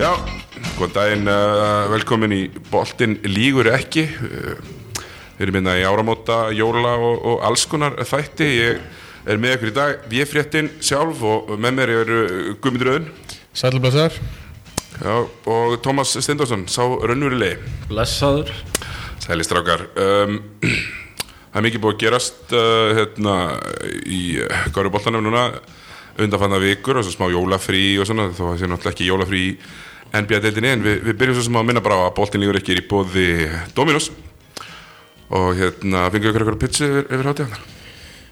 Já, góðan daginn, uh, velkomin í Boltinn lígur ekki uh, Við erum hérna í áramóta, jóla og, og alls konar þætti Ég er með ykkur í dag, ég fréttin sjálf og með mér eru Guðmundur Öðun Sælublessar Já, og Tómas Steindorsson, sá raunverulegi Blessaður Sæli strákar um, Það er mikið búið að gerast uh, hérna, í Gáruboltanum núna undanfanna vikur og svo smá jólafrí og svona þó að sé náttúrulega ekki jólafrí í NBA-deildinni en við, við byrjum svo sem að minna bara á að boltin lígur ekki er í bóði Dominos og hérna fengið ykkur ykkur pizza yfir, yfir hátíðanar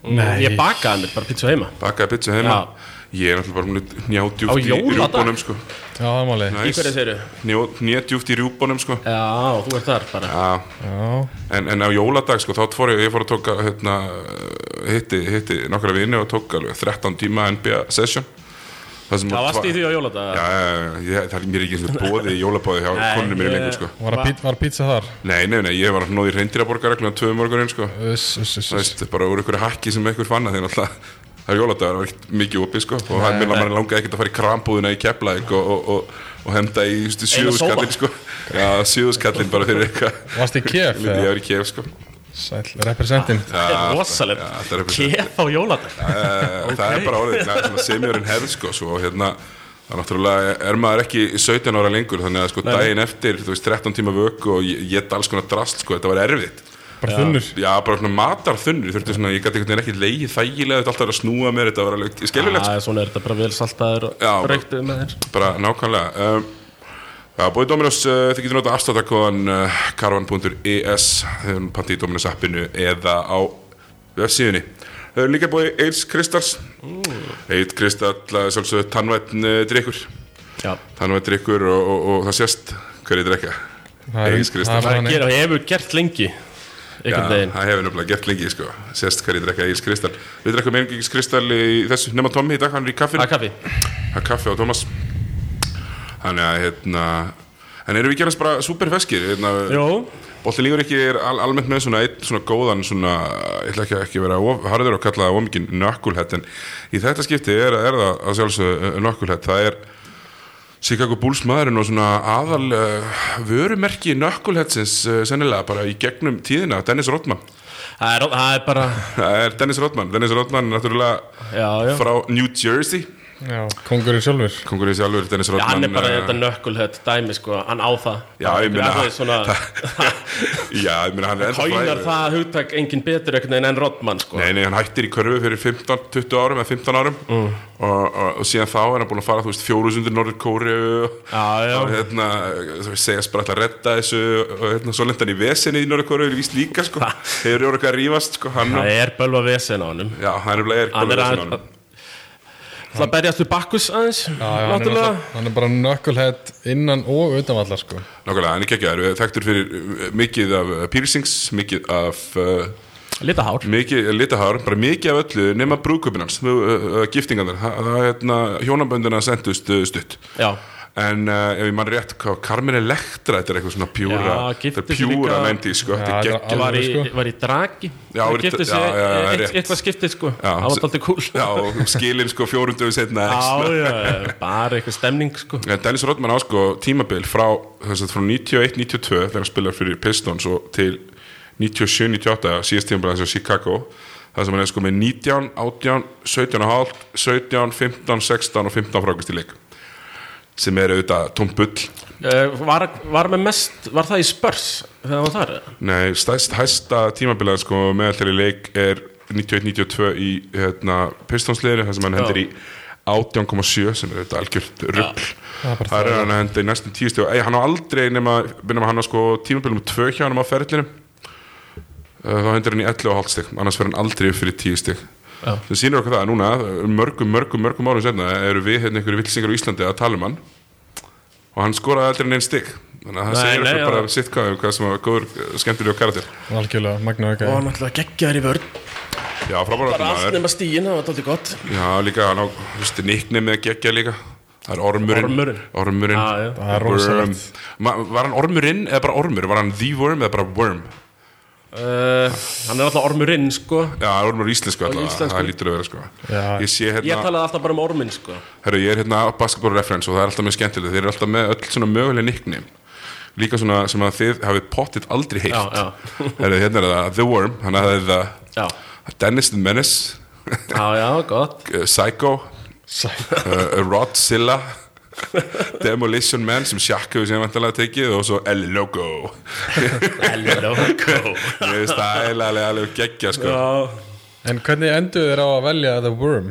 Nei. Ég bakaði mér bara pizza heima bakaði pizza heima Já. ég er náttúrulega bara mjög Á njádjúft í jóladag? rjúbónum sko. Já, það er máli Í hverju þeir eru? njádjúft í rjúbónum sko. Já, þú ert þar bara Já, Já, En, en á jóladag sko, þá fór ég, ég fór að tóka hérna, hitti, hitti nokkra vini og tók alveg 13 tíma NBA session Það sem Það var- varst í því á jóladag Já, já, já, ég, það er mér ekki eins og bóði í jólabóði hjá Nei, konunum mér ég- lengur sko var, að pít, var pizza þar Nei, nei, nei, ég var að nóði reyndirarborgar reglum að tvö morgunin sko Uss, uss, uss, Það uss veist, bara úr ykkur hakki sem ykkur fann að því náttúrulega Það er jóladagur, það var ekkert mikið opið sko og hann minna mann langaði ekkert að fara í krambúðina í Keflæk og, og, og, og henda í just, sófa. sjöðuskallin sko Já, sjöðuskallin bara fyrir eitthvað Varst í KF, Lítið, eða? Ég var í kef sko Sæl, representin Það er Já, rosalegt þetta er represent. Kef á jóladag Eh, það er bara orðið na- svona semiðurinn hefð sko, svo, hérna, það er náttúrulega er maður ekki 17 ára lengur þannig að sko daginn eftir, þú veist, 13 tíma vöku og ég geta alls konar drast, sko, þetta var erfitt Bara þunnur já, bara svona matar þunnur, þurfti svona ég gæti einhvern veginn ekki leið þægilega, þetta alltaf að snúa mér þetta var alveg skelvilegt, Það er svona, er þetta bara vel saltaður og Já, bara- reyktuð með þér sko, bara nákvæmlega um, Já, bóði Dominos, uh, þið getur notað afstættakóðan uh, karvan.es þegar pantið í Dominos appinu eða á vefsíðunni. Það eru líka bóði Eils Kristals. Eitt Kristall, uh, svolítið tannvætn uh, drikkur. Já Tannvætn drikkur og, og, og það sést hverju drekka. Það er- Eils Kristall. það er- Það Þannig. gerir og hefur gert lengi Já, Einhvern veginn það hefur nefnilega gert lengi, sko. Sést hverju drekka Eils Kristall. Við drekkum einhverjum Kristall í þessu, nema Tommy í dag, hann er í kaffinu. Það er kaffi Það er kaffi á Tómas Þannig að hérna En erum við gerast bara super feskir hérna, Jó Bolti lígur ekki er al almennt með svona eitt svona góðan svona Ég ætla ekki, ekki að vera of, harður og kalla það ómikið nökkulhett En í þetta skipti er, er það að sjálfsög nökkulhett Það er Chicago Bulls maðurinn og svona aðal uh, vörumerki nökkulhetsins uh, sennilega bara í gegnum tíðina Dennis Rodman Það er, það er bara Það er Dennis Rodman Dennis Rodman er náttúrulega Já, já frá New Jersey Já, kongurinn sjálfur Kongurinn sjálfur Dennis Já, Rodman hann er bara hérna eh, þetta nökkulhött dæmi sko, hann á það Já, ég meina- Það er svona, Já, ég meina hann er ennþá hóinar frægur. það hugtak engin betur einhvern veginn en Rodman sko Nei, nei, hann hættir í körfu fyrir 15, 20 árum eða 15 árum Mm. og, og, og síðan þá er hann búin að fara, þú veist, fjórusundir Norður Kóri og Já, já. og hérna, þú veist, segja bara alltaf að redda þessu og hérna, svo lendan í vesinni í Norður Kóri og víst líka, sko, hefur voru eitthvað að rífast, sko, hann og, Það er bölva vesen á hannum já, hann er bara er Hann er vesinn á að honum. Það berjast við Bakkus aðeins Já, já, hann, er Náttúrulega náttúrulega- hann er bara nökkulhett innan og utan allar sko Nákvæmlega, hann er geggjaður, við þekktur fyrir uh, mikið af uh, piercings, mikið af uh, Lita hár mikið litahár, bara mikið af öllu nema brúköpinn hans, uh, uh, giftingarnar það, það, hérna, hjónaböndina sendust uh, stutt Já En uh, ef ég man rétt, hvað, Carmen Electra, þetta er eitthvað svona pjúra, Já, þetta gifti er sig pjúra líka- 90, sko, þetta Já, er þetta er geggjum. Var í, sko. var í dragi Já, var í- Gifti sig já, já, já, eitt- rétt. Eitthvað skiptið sko Já, Það var alltaf kúl Já, og skilin sko fjórundu við setna. Já, já, bara eitthvað stemning sko En Dennis Rodman á sko tímabil frá, þess að frá 91-92, þegar hann spilar fyrir Pistons og til 97-98, síðast tímabil hans á Chicago, það sem hann er sko með 19, 18, 17 og hálf, 17, 15, 16 og 15 frákvist í leik, sem er auðvitað tóm bull. Eh, var, var með mest, var það í spörs Þegar það var þar eða? Nei, stæst, hæsta tímabilað sko, meðaltæri leik er 91-92 í hérna, pistonsliðinu þar sem hann hendir í 18,7 sem er þetta algjört rugl Það er bara það er hann að henda í næstum tíu stíu Ei, hann á aldrei nema, nema hann á sko, tímabilum 2 hjá hann á ferðlinu þá hendur hann í 11,5 stík annars verður hann aldrei upp fyrir 10 stík Já. sem sýnir okkur það að núna mörgum, mörgum, mörgum árum senna eru við hérna einhverju vilsingar á Íslandi að tala um hann og hann skoraði aldrei neinn stík þannig að það Nei, segir nei, okkur já. bara sitt hvað, hvað sem var góður, skemmtilegur karakter Algjörlega, magna Og auka náttúrulega geggjaður í vörn Já, frábæra Bara allt maður nema stíin, það var alltaf gott Já, líka, hann á, þú veist, nickname með geggja líka Það er ormurinn Ormurinn. Ormurinn Já, já. Það er rosalegt. Worm. Ma- Var hann ormurinn eða bara ormur? Var hann the worm eða bara worm? Uh, hann er alltaf ormurinn sko Já, það er ormur íslensku Á alltaf, íslensku. það lítur að vera sko Já. Ég sé Ég hérna, talaði alltaf bara um orminn sko herru, ég er hérna á basketball reference og það er alltaf mjög skemmtileg Þeir eru alltaf með öll svona möguleg nickname Líka svona sem að þið hafið pottitt aldrei Já, heilt já, Herru, hérna er það The Worm, hann hafði það já, Dennis the Menace, já, já gott uh, Psycho, Sæ- uh, Rodzilla Demolition Man sem Shaq hefur sem vantanlega tekið og svo El Logo Hello, go Ég veist það er alveg alveg geggja sko Já, En hvernig endur þeir á að velja The Worm?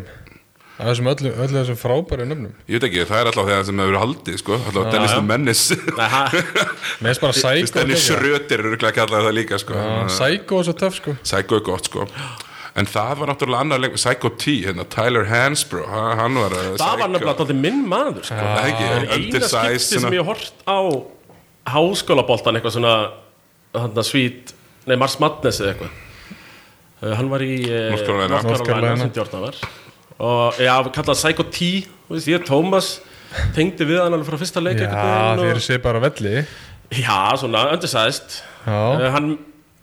Af þessum öllu, öllu þessum frábæru nöfnum Ég veit ekki, það er alltaf þegar sem það verið haldið sko Alltaf Dennis the Menace Nei, ha- Mér finnst bara Psycho Dennis geggjað. Schröter eru ekki að kalla það líka sko Já, Psycho er svo töff sko Psycho er gott sko En það var náttúrulega annar lengur Psycho T, hérna, Tyler Hansbro ha- Hann var uh, það var Psycho. nefnilega alltaf minn maður sko Það er Það ekki, er eina skipti undersized sem svona- ég hef hort á háskólaboltan eitthvað svona þarna svít, nei Mars Madness eða eitthvað uh, hann var í eh, North Carolina. North North Carolina Carolina. sem Jordan var og já, kallað Psycho T þú veist, ég, Thomas, tengdi við hann alveg frá fyrsta leik Já, einhvern þeir veginn eru sér bara á velli og, já svona, undersized uh, Já, hann,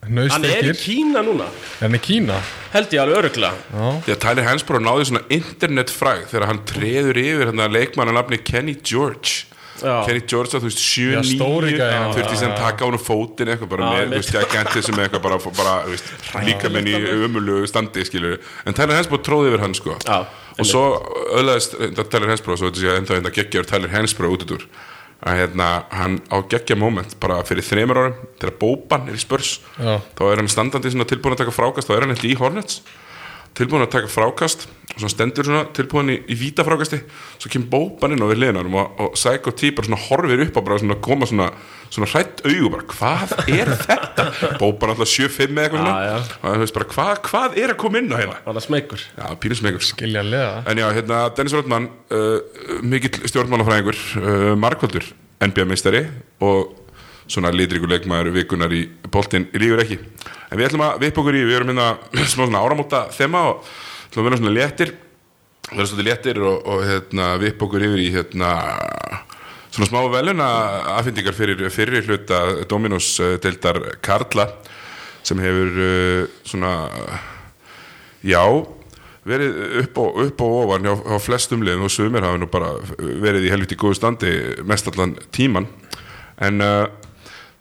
hann er í nöðstekir Kína núna En í Kína held ég alveg öruglega Já, Þegar Tyler Hansbro náði svona internetfræg Þegar hann treður yfir hérna leikmannanafni Kenny George Já. Kenny George að þú veist Já, 7-9 stóri gæinn. þurfti sem taka hún á fótinn eitthvað bara með, Já, þú einmitt. veist, gægantið sem eitthvað bara, bara þú veist, líka menn í ömulugu standi skilur, en Tyler Hansbro tróði yfir hann sko Já, og svo öðlaðist reyndar Tyler Hansbro, svo þetta sé ennþá enda geggjör Tyler Hansbro út út úr að hérna, hann á geggja moment bara fyrir þremur árum, þegar Bóban er í spörs Já. þá er hann standandi svona tilbúin að taka frákast þá er hann eitthvað í Hornets tilbúin að taka frákast og svona stendur svona tilbúin í, í víta frákasti svo kemur Bóban inn á við liðanum og, og Psycho T bara svona horfir upp og bara svona koma svona, svona hrætt augu bara hvað er þetta? Bóban alltaf 7-5 eða eitthvað Já, já. svona og það veist bara hvað, hvað er að koma inn á hérna? hann er smeykur Já, pínusmegur gilja leða En já, hérna, Dennis Rodman uh, mikill stjórnmálafræðingur uh, markvöldur, NBA-meistari og svona litrikur leikmaður vikunar í boltinn lífur ekki en við ætlum að viðpa okkur í, við erum hérna smá svona áramóta þema og ætlum að vera svona léttir vera svona léttir og, og hérna, viðpa okkur yfir í hérna svona smá veluna afhendingar fyrir fyrir hluta Dominus uh, deildar Karla sem hefur uh, svona Já, verið upp og, upp og ofan hjá, hjá flestum liðum og sumir hafa nú bara verið í helviti góðu standi mest allan tíman en uh,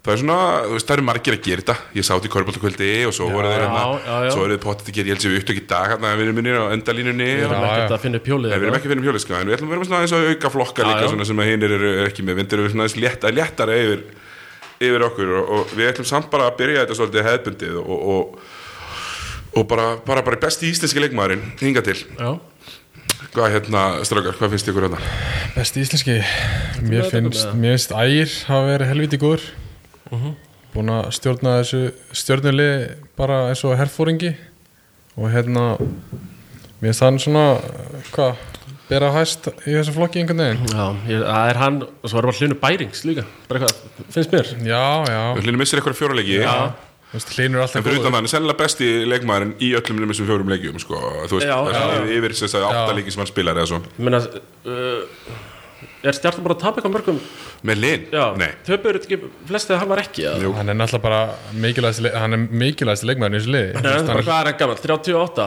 það er svona, þú veist, það eru margir að gera þetta ég sátt í Körbóltakvöldi og svo voru þeir já, já. hérna svo eru þeir potið að gera, ég held sem við upptökk í dag hérna við erum minnir á endalínunni við erum Já, já. ekkert að finna upp hjólið Nei, við erum ekki fyrir um hjóliska, en við ætlum að vera með svona aðeins að auka flokka Já, líka, já. svona sem að hinn eru er ekki með, vindur eru svona aðeins létta, léttara yfir, yfir okkur og, og við ætlum samt bara að byrja þetta svolítið hefðbundið og, og, og bara, bara, bara besti íslenski leikmaðurinn hinga til. já Hvað hérna, strákar, hvað finnst ykkur hérna? Besti íslenski Mér með finnst, þetta með? mér finnst Ægir hafa verið helviti góður Búin að stjórna þessu stjórnuli bara eins og herfóringi og hérna mér finnst hann svona hvað, bera hæst í þessu flokki einhvern veginn Já, ég, það er hann, og svo erum við hljónu bærings líka bara eitthvað, finnst mér Já, já, Hlynur missir eitthvað fjóralegi, Þú veist, hlinur er en alltaf fyrir góður utan þannig, sennilega besti leikmaðurinn í öllum hlynum sem fjórum leikjum, sko, þú veist, Já, það já, er yfir þess að átta leiki sem hann spilar eða svo. ég meina uh, er stjartan bara að tapa eitthvað mörgum Með Lin? já, Nei. töpur ekki flest þegar hann var ekki eða? Jú. Hann er náttúrulega bara mikilvægst, hann er mikilvægst leikmæðin í þessu liði Þú Nei, veist, bara hann, hvað er hann gammal, 38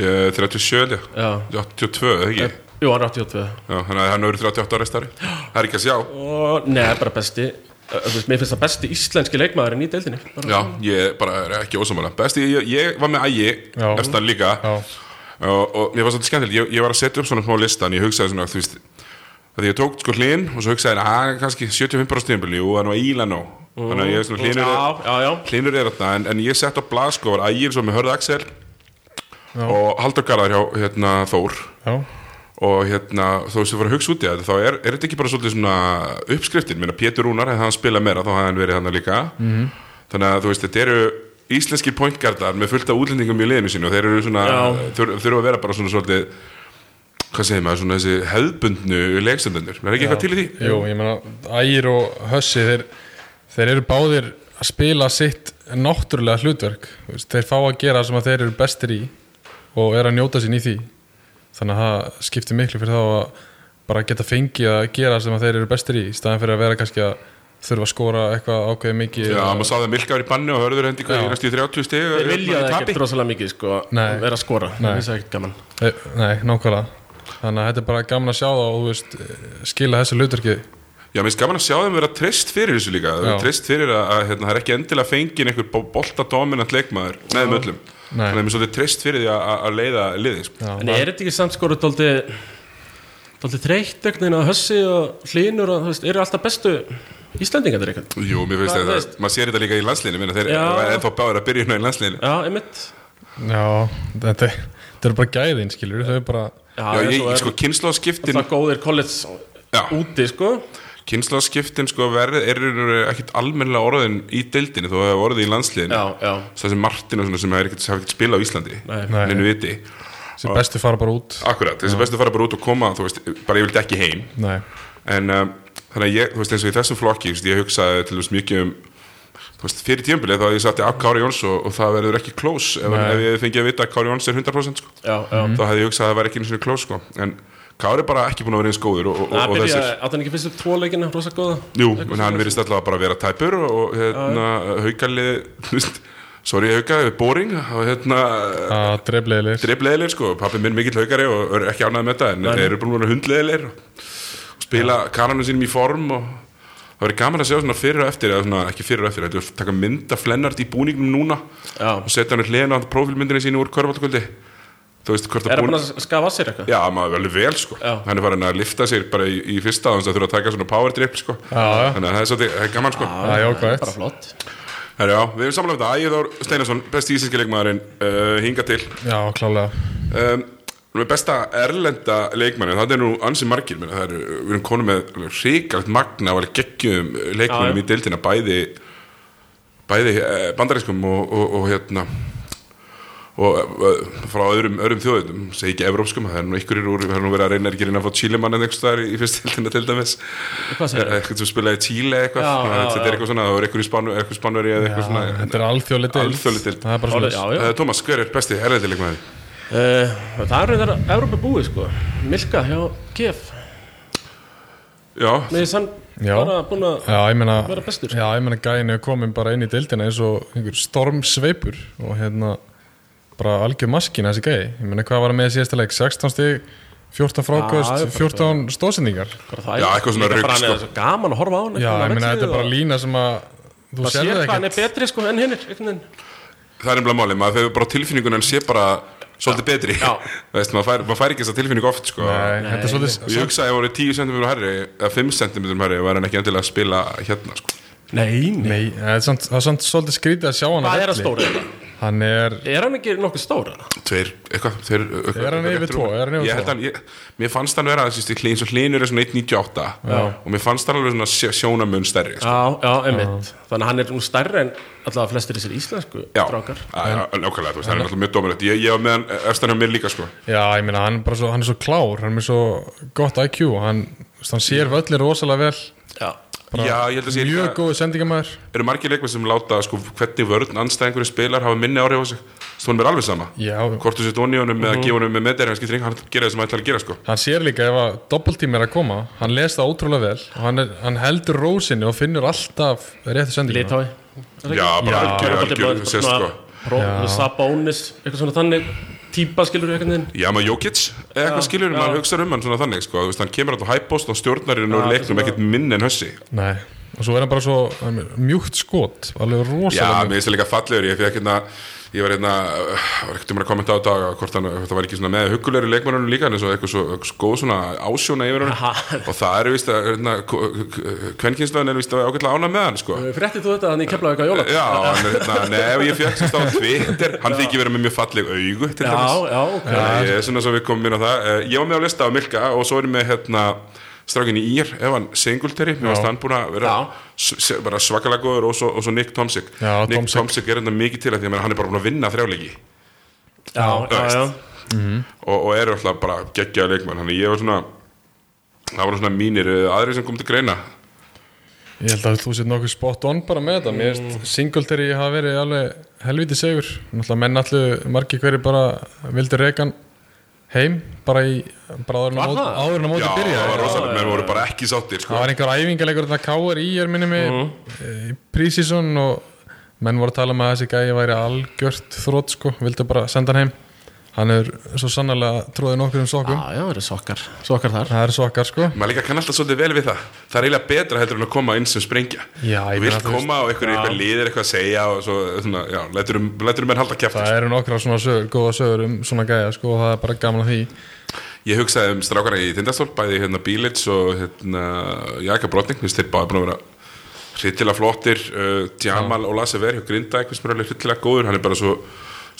Eh, 37, já. já, 82, eða ekki? jú, hann er 82 Já, þannig að hann verður 38 ára stari Það er ekki að sjá og neða, bara besti uh, þú veist, mér finnst það besti íslenski leikmaðurinn í deildinni bara. Já, ég bara er ekki ósamála Besti, ég, ég var með ægi, Já. eftir líka já, og, og mér var svolítið skemmtilegt ég, ég var að setja upp svona smá listan Ég hugsaði svona, þú veist Þegar ég tók sko hlinn og svo hugsaði hann kannski 75% tímpil, jú, hann var íla nóg Þannig að ég er svona já, hlinur já, já, Hlinur er þarna, en, en ég sett á blað sko var ægir svo með hörðu Axel og Haldur Garðar hjá hérna, Þór já, og hérna, þó sem fyrir að hugsa út í þetta þá er, er þetta ekki bara svolítið svona uppskriftin, minna Pétur Rúnar, hefði hann spilað meira þá hefði hann verið hann líka Mhm. -hmm. þannig að þú veist, þetta eru íslenskir pointgardar með fullt af útlendingum í liðinu sínu og þeir eru svona, Já. þur, þurfa að vera bara svona svolítið hvað segir maður, svona þessi hefðbundnu leikstendundur, er ekki eitthvað til í því? Jú, ég meina, Ægir og Hössi þeir, þeir eru báðir að spila sitt náttúrulega hlutverk Þú veist, Þeir fá að gera það sem að þeir eru bestir í og eru að njóta sín í því Þannig að það skiptir miklu fyrir þá að bara geta fengið að gera það sem að þeir eru bestir í í staðan fyrir að vera kannski að þurfa að skora eitthvað ákveðið mikið Já, maður sá það að Milka var í banni og hörður hendi hvað Já. í næstu í 30 stig Þeir vilja það ekki ekkert rosalega mikið sko Nei. að vera að skora, Nei. það er ekkert gaman Eh, Nei, nákvæmlega Þannig að þetta er bara gaman að sjá það og þú veist, eh, skila þessu hlutverki Já, mér finnst gaman að sjá þeim vera treyst fyrir þessu líka Já. Treyst fyrir að, að hérna, það er ekki endilega fengin einhver boltadominant leikmaður með þeim öllum Nei. Þannig að mér svolítið treyst fyrir því að- að að leiða liðið sko. Já, En er þetta ekki samt skora dóldi dóldi þreytt ögnin að hössi og hlínur og þú veist, eru alltaf bestu Íslendingandir eitthvað? Jú, mér finnst Hvað þetta, veist? maður sér þetta líka í landsliðinu minna, þeir Já. eru ennþá báður að byrja hérna í landsliðinu Já, einmitt já þetta, er- þetta er bara gæðin, skilur Þau er bara, Já, en ég, svo er sko, kynnslóðskiptin alltaf góðir college Já. úti sko Kynnslóðskiptin, sko, verð, eru ekkit almennilega orðin í deildinu þó að það hefur orðið í landsliðinu Já, já, Svo þessi Martin og svona sem hefur ekkert hef ekkert spila á Íslandi Nei. Nei. Neinu viti þessi bestu fara bara út Akkurat, þessi bestu fara bara út og koma þú veist, bara ég vildi ekki heim Nei, en um, þannig að ég, þú veist, eins og í þessum flokki þú veist, ég hugsaði til þess mikið um þú veist, fyrir tímbilið þá að ég satt í af Kári Jóns og, og það verður ekki close ef, Nei. ef ég fengi að vita að Kári Jóns er 100% sko. já, já þá hefði ég hugsað að það væri ekki eins og close sko. en Kári er bara ekki búin að vera eins góður og, og, Það og byrja, þessir, átt hann ekki fyrst upp tvo leikina, rosa góða jú, en hann verðist alltaf bara að vera tæpur og, og hérna, haukalið þú veist, sorry hauka, boring og hérna, að dreflegilir drifleðilegir sko, pappi minn mikill haugari og er ekki ánægð með þetta en þeir eru búin að vera hundleðilegir og spila kananum sínum í form og það verður gaman að sjá svona fyrir og eftir eða svona ekki fyrir og eftir, þetta er taka mynd af flennart í búningnum núna Já. og setja hann í hliðina á prófílmyndinni sínu úr körfaldkvöldi þú veist hvort Er að það búin Sko búin að skafa að sér eitthvað? Já, maður er alveg vel sko Já. hann er farin að lifta sér bara í, í fyrsta þannig að þurfa að taka svona power drip sko Já, já. þannig að það er, svolítið, það er gaman sko Það er Það jákvæmt. er bara flott Herra, já, við erum samlega um þetta, Ægir Þór Steinarsson besti íslenski leikmaðurinn uh, hinga til Já, klálega um, Nú er besta erlenda leikmanni Það er nú ansi margir menn, er, Við erum konum með ríkalt magna Alveg geggjum leikmannum Já, í deildina Bæði, bæði eh, bandarískum og, og, og hérna og eh, frá öðrum, öðrum þjóðum segi ekki evrópskum, það er nú ykkur úr það er nú verið að reyna ekki reyna að fá Chile-mann en einhvers staðar í fyrst deildina til dæmis Hvað segir það? eitthvað sem spilaði í Chile eitthvað Já, já, þetta já. er eitthvað svona, það er eitthvað í Spánu- eitthvað spánveri eða eitthvað svona Þetta er alþjóðlega deild Alþjóðleg deild. Það er bara Orðið- svona Já, já Eh, Tómas, hver er besti erlendileikmaði? Uh, það er reyndar Evrópa búið sko Milka hjá KF Já, Með sann Já. bara búin að Já, ég meina, Vera bestur. já, ég meina gæin er komin bara inn í deildina eins og einhver stormsveipur og hérna bara algjör maskina þessi gæi ég meina hvað var hann með í síðasta leik 16 stig, 14 Já, frákvöst ég bara- 14 stóðsendingar bara það Já, eitthvað svona rugl, sko sko. svo Gaman að horfa á hann Já, ég meina þetta er bara lína sem að þú Það sér sérði hvað hann ekkert er betri sko enn hinnir Já, það er nefnilega málið, maður hefur bara tilfinningun en sé bara svolítið betri Já. Þú veist, maður, fær, maður fær ekki þessa tilfinningu oft sko. Nei, þetta er og svolítið ég hugsa að ef hann voru 10 cm herri eða 5 cm herri var hann ekki endilega að spila hérna sko. Nei, Nei, það er samt, það er samt svolítið skrítið að sjá hann á Hvað er velli. að stóra þetta? Hann er, Er hann ekki nokkuð stóra? tveir, eitthvað, tveir, eitthvað Er hann yfir tvo? Er hann yfir ég, tvo? held hann, ég, mér fannst hann vera þessi, eins og hlinur er svona 1.98 og mér fannst hann alveg svona sj- sjónamun stærri sko. Já, já, emitt Þannig að hann er nú stærri en allavega flestir þessir íslensku já, drákar Já, já, nákvæmlega, þú veist, það er náttúrulega mjög dominant ég, ég var með hann, efstan hjá mér líka sko. já, ég meina hann er bara svo, hann er svo klár Hann er með svo gott IQ Hann, þú veist, hann sér völlin rosalega vel Já, Bara já, ég held að sé Mjög góðu sendingamæður eru margir leikmenn sem láta sko, hvernig vörn anstæðingur spilar hafa minni áhrif á sig stónum er alveg sama Já. hvort þú sett onni honum með að gefa honum með meðdæri hann skiptir engu, hann gera það sem hann ætlar að gera sko. Hann sér líka ef að doppeltím er að koma Hann les það ótrúlega vel Og hann, er, hann heldur rósinni og finnur alltaf réttu sendingamæður litái já, bara Já. algjör, algjör, sérst sko Já. Sabónis, eitthvað svona þannig Típa skilur eitthvað þinn já, maður Jókits, eða eitthvað skilur maður hugsaður um hann svona þannig, sko, Þú veist, hann kemur alltaf hæpost og stjórnar í nú Já, leiknum svona- ekkert minn en hössi Nei, og svo er hann bara svo hann er mjúkt skot Alveg já, rosalega mér finnst það líka fallegur, ég fekk hérna ég var hérna, uh, var ekkert um að kommenta á dag hvort, hann, hvort það var ekki svona með huggulegur leikmannunum líka en eins og eitthvað svo, eitthvað svo góð svona ásjóna yfir Aha. hann og það er víst að hérna, kvenkinslan er víst að ágætlega ána með hann sko. Fréttið þú þetta, þannig keflaðu eitthvað jóla Já, hann er hérna, nef, ég fekk sérst á Twitter Hann þykir verið með mjög falleg augu til Já, dæmis já, ok Þannig að Ég er svona svo við komum inn á það Eh, Ég var með á lista á Milka og svo er ég með hérna strákinni Ír, ef hann Singletary mér varst hann búin að vera Já. s- s- bara svakalega góður og svo, og svo Nick Tomsik Já, Nick Tomczyk. Tomsik er hérna mikið til að því að hann er bara búin að vinna þrjáleiki Já, já, já og, og er alltaf bara geggjaða leikmann þannig ég var svona það var svona mínir eh, aðrir sem kom til greina Ég held að þú sétt nokkuð spot on bara með þetta Mér finnst Singletary hafa verið alveg helviti segur Náttúrulega menn allu margir hverju bara vildi reikan heim bara í bara áður en Var að mót- það? áður en að Já, móti byrja það var rosalega, já, menn já. voru bara ekki sáttir sko. það var einhver æfingalegur þetta K.R.I. er minni með mm Mhm. -hmm. prísísson og menn voru að tala um að þessi gæi væri algjört þrótt sko, vildu bara senda hann heim hann er svo sannlega tróðið nokkur um sokkum Ah. Já, já, það eru sokkar, sokkar þar það er sokkar sko maður líka kann alltaf svolítið vel við það það er eiginlega betra heldur en að koma inn sem sprengja Já, ég þú vilt meina, þú koma og einhverju eitthvað liðir eitthvað að segja og svo, svona, já, lætur um, lætur um menn halda kæft það eru nokkra svona sögur, góða sögur um svona gæja sko, og það er bara gaman að því ég hugsaði um strákana í Tindastól bæði hérna Bílits og hérna Jaka Brotning, þú veist þeir báði búin að vera hryllilega flottir uh, Djamal og Lasse Verhjó Grinda, eitthvað sem er alveg hryllilega góður hann er bara svo,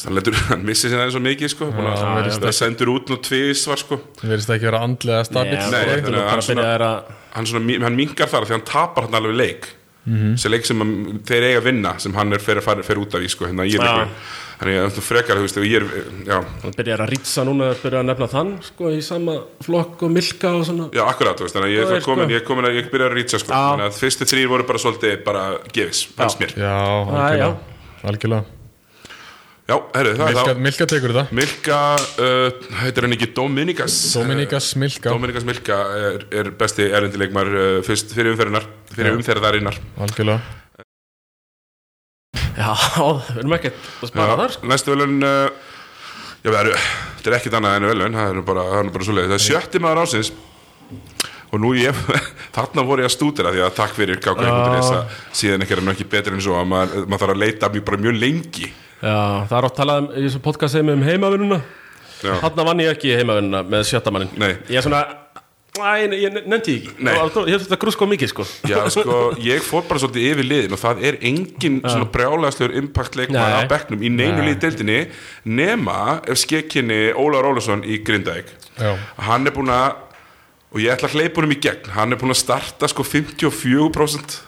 hann, letur, hann missi sér aðeins svo mikið sko, búin Já, að það sendur út nú tvísvar sko, það verðist ekki vera andlega sko. stabil Nei, Nei, það þannig að hann er bara að byrja þær að hann, svona, mi- hann mingar þar því hann tapar hann alveg leik þessi leik sem hann, þeir eiga að vinna sem hann er fyrir, fyrir, fyrir út af í sko, hérna í Já. leikur þannig að þú frekar, þú veist, ef ég er já, Það byrjar að rýtsa núna, það byrjar að nefna þann sko, í sama flokk og milka og svona já akkurat, þú veist, þannig að ég Það er er, sko. komin, ég er komin að ég byrja að rýtsa sko, Já. þannig að fyrstu þrýr voru bara svolítið bara gefis, fannst mér já, Ah, algjörlega, algjörlega. Já, herru, það Milka, er þá Eh, Milka tekur þetta Milka, uh, heitir hann ekki Dominikas Dominika Smilka, Dominikas Milka er, er besti erendileikmar uh, fyrst fyrir umferðinar fyrir Já. umferðarinnar algjörlega Já, við erum ekkert að spara þar sko. Næstu velun uh, Já, það eru, þetta er ekkit annað en velun það er nú bara, það er nú bara svoleiðis, það er sjötti maður ásins og nú ég þarna voru ég að stúdera því að takk fyrir káka einhvern síðan ekki er hann ekki betri en svo að maður, maður þarf að leita mjög, bara mjög lengi Já, það er átt talað um, í þessu podcast sem um heimavinnuna Já. Þarna vann ég ekki heimavinnuna með sjöttamannin Nei. Ég er svona, næ, ég ég nefndi ekki Nei. Það var aldrei- Ég hef þetta grúsko mikið sko Já, sko, ég fór bara svolítið yfir liðin og það er engin svona brjálæðslegur impact leikmaður Nei. af bekknum í neinu Nei. liði deildinni nema ef skekkinni Ólar Ólason í Grindavík Já. hann er búin að og ég ætla að hleypa honum í gegn hann er búin að starta sko 54%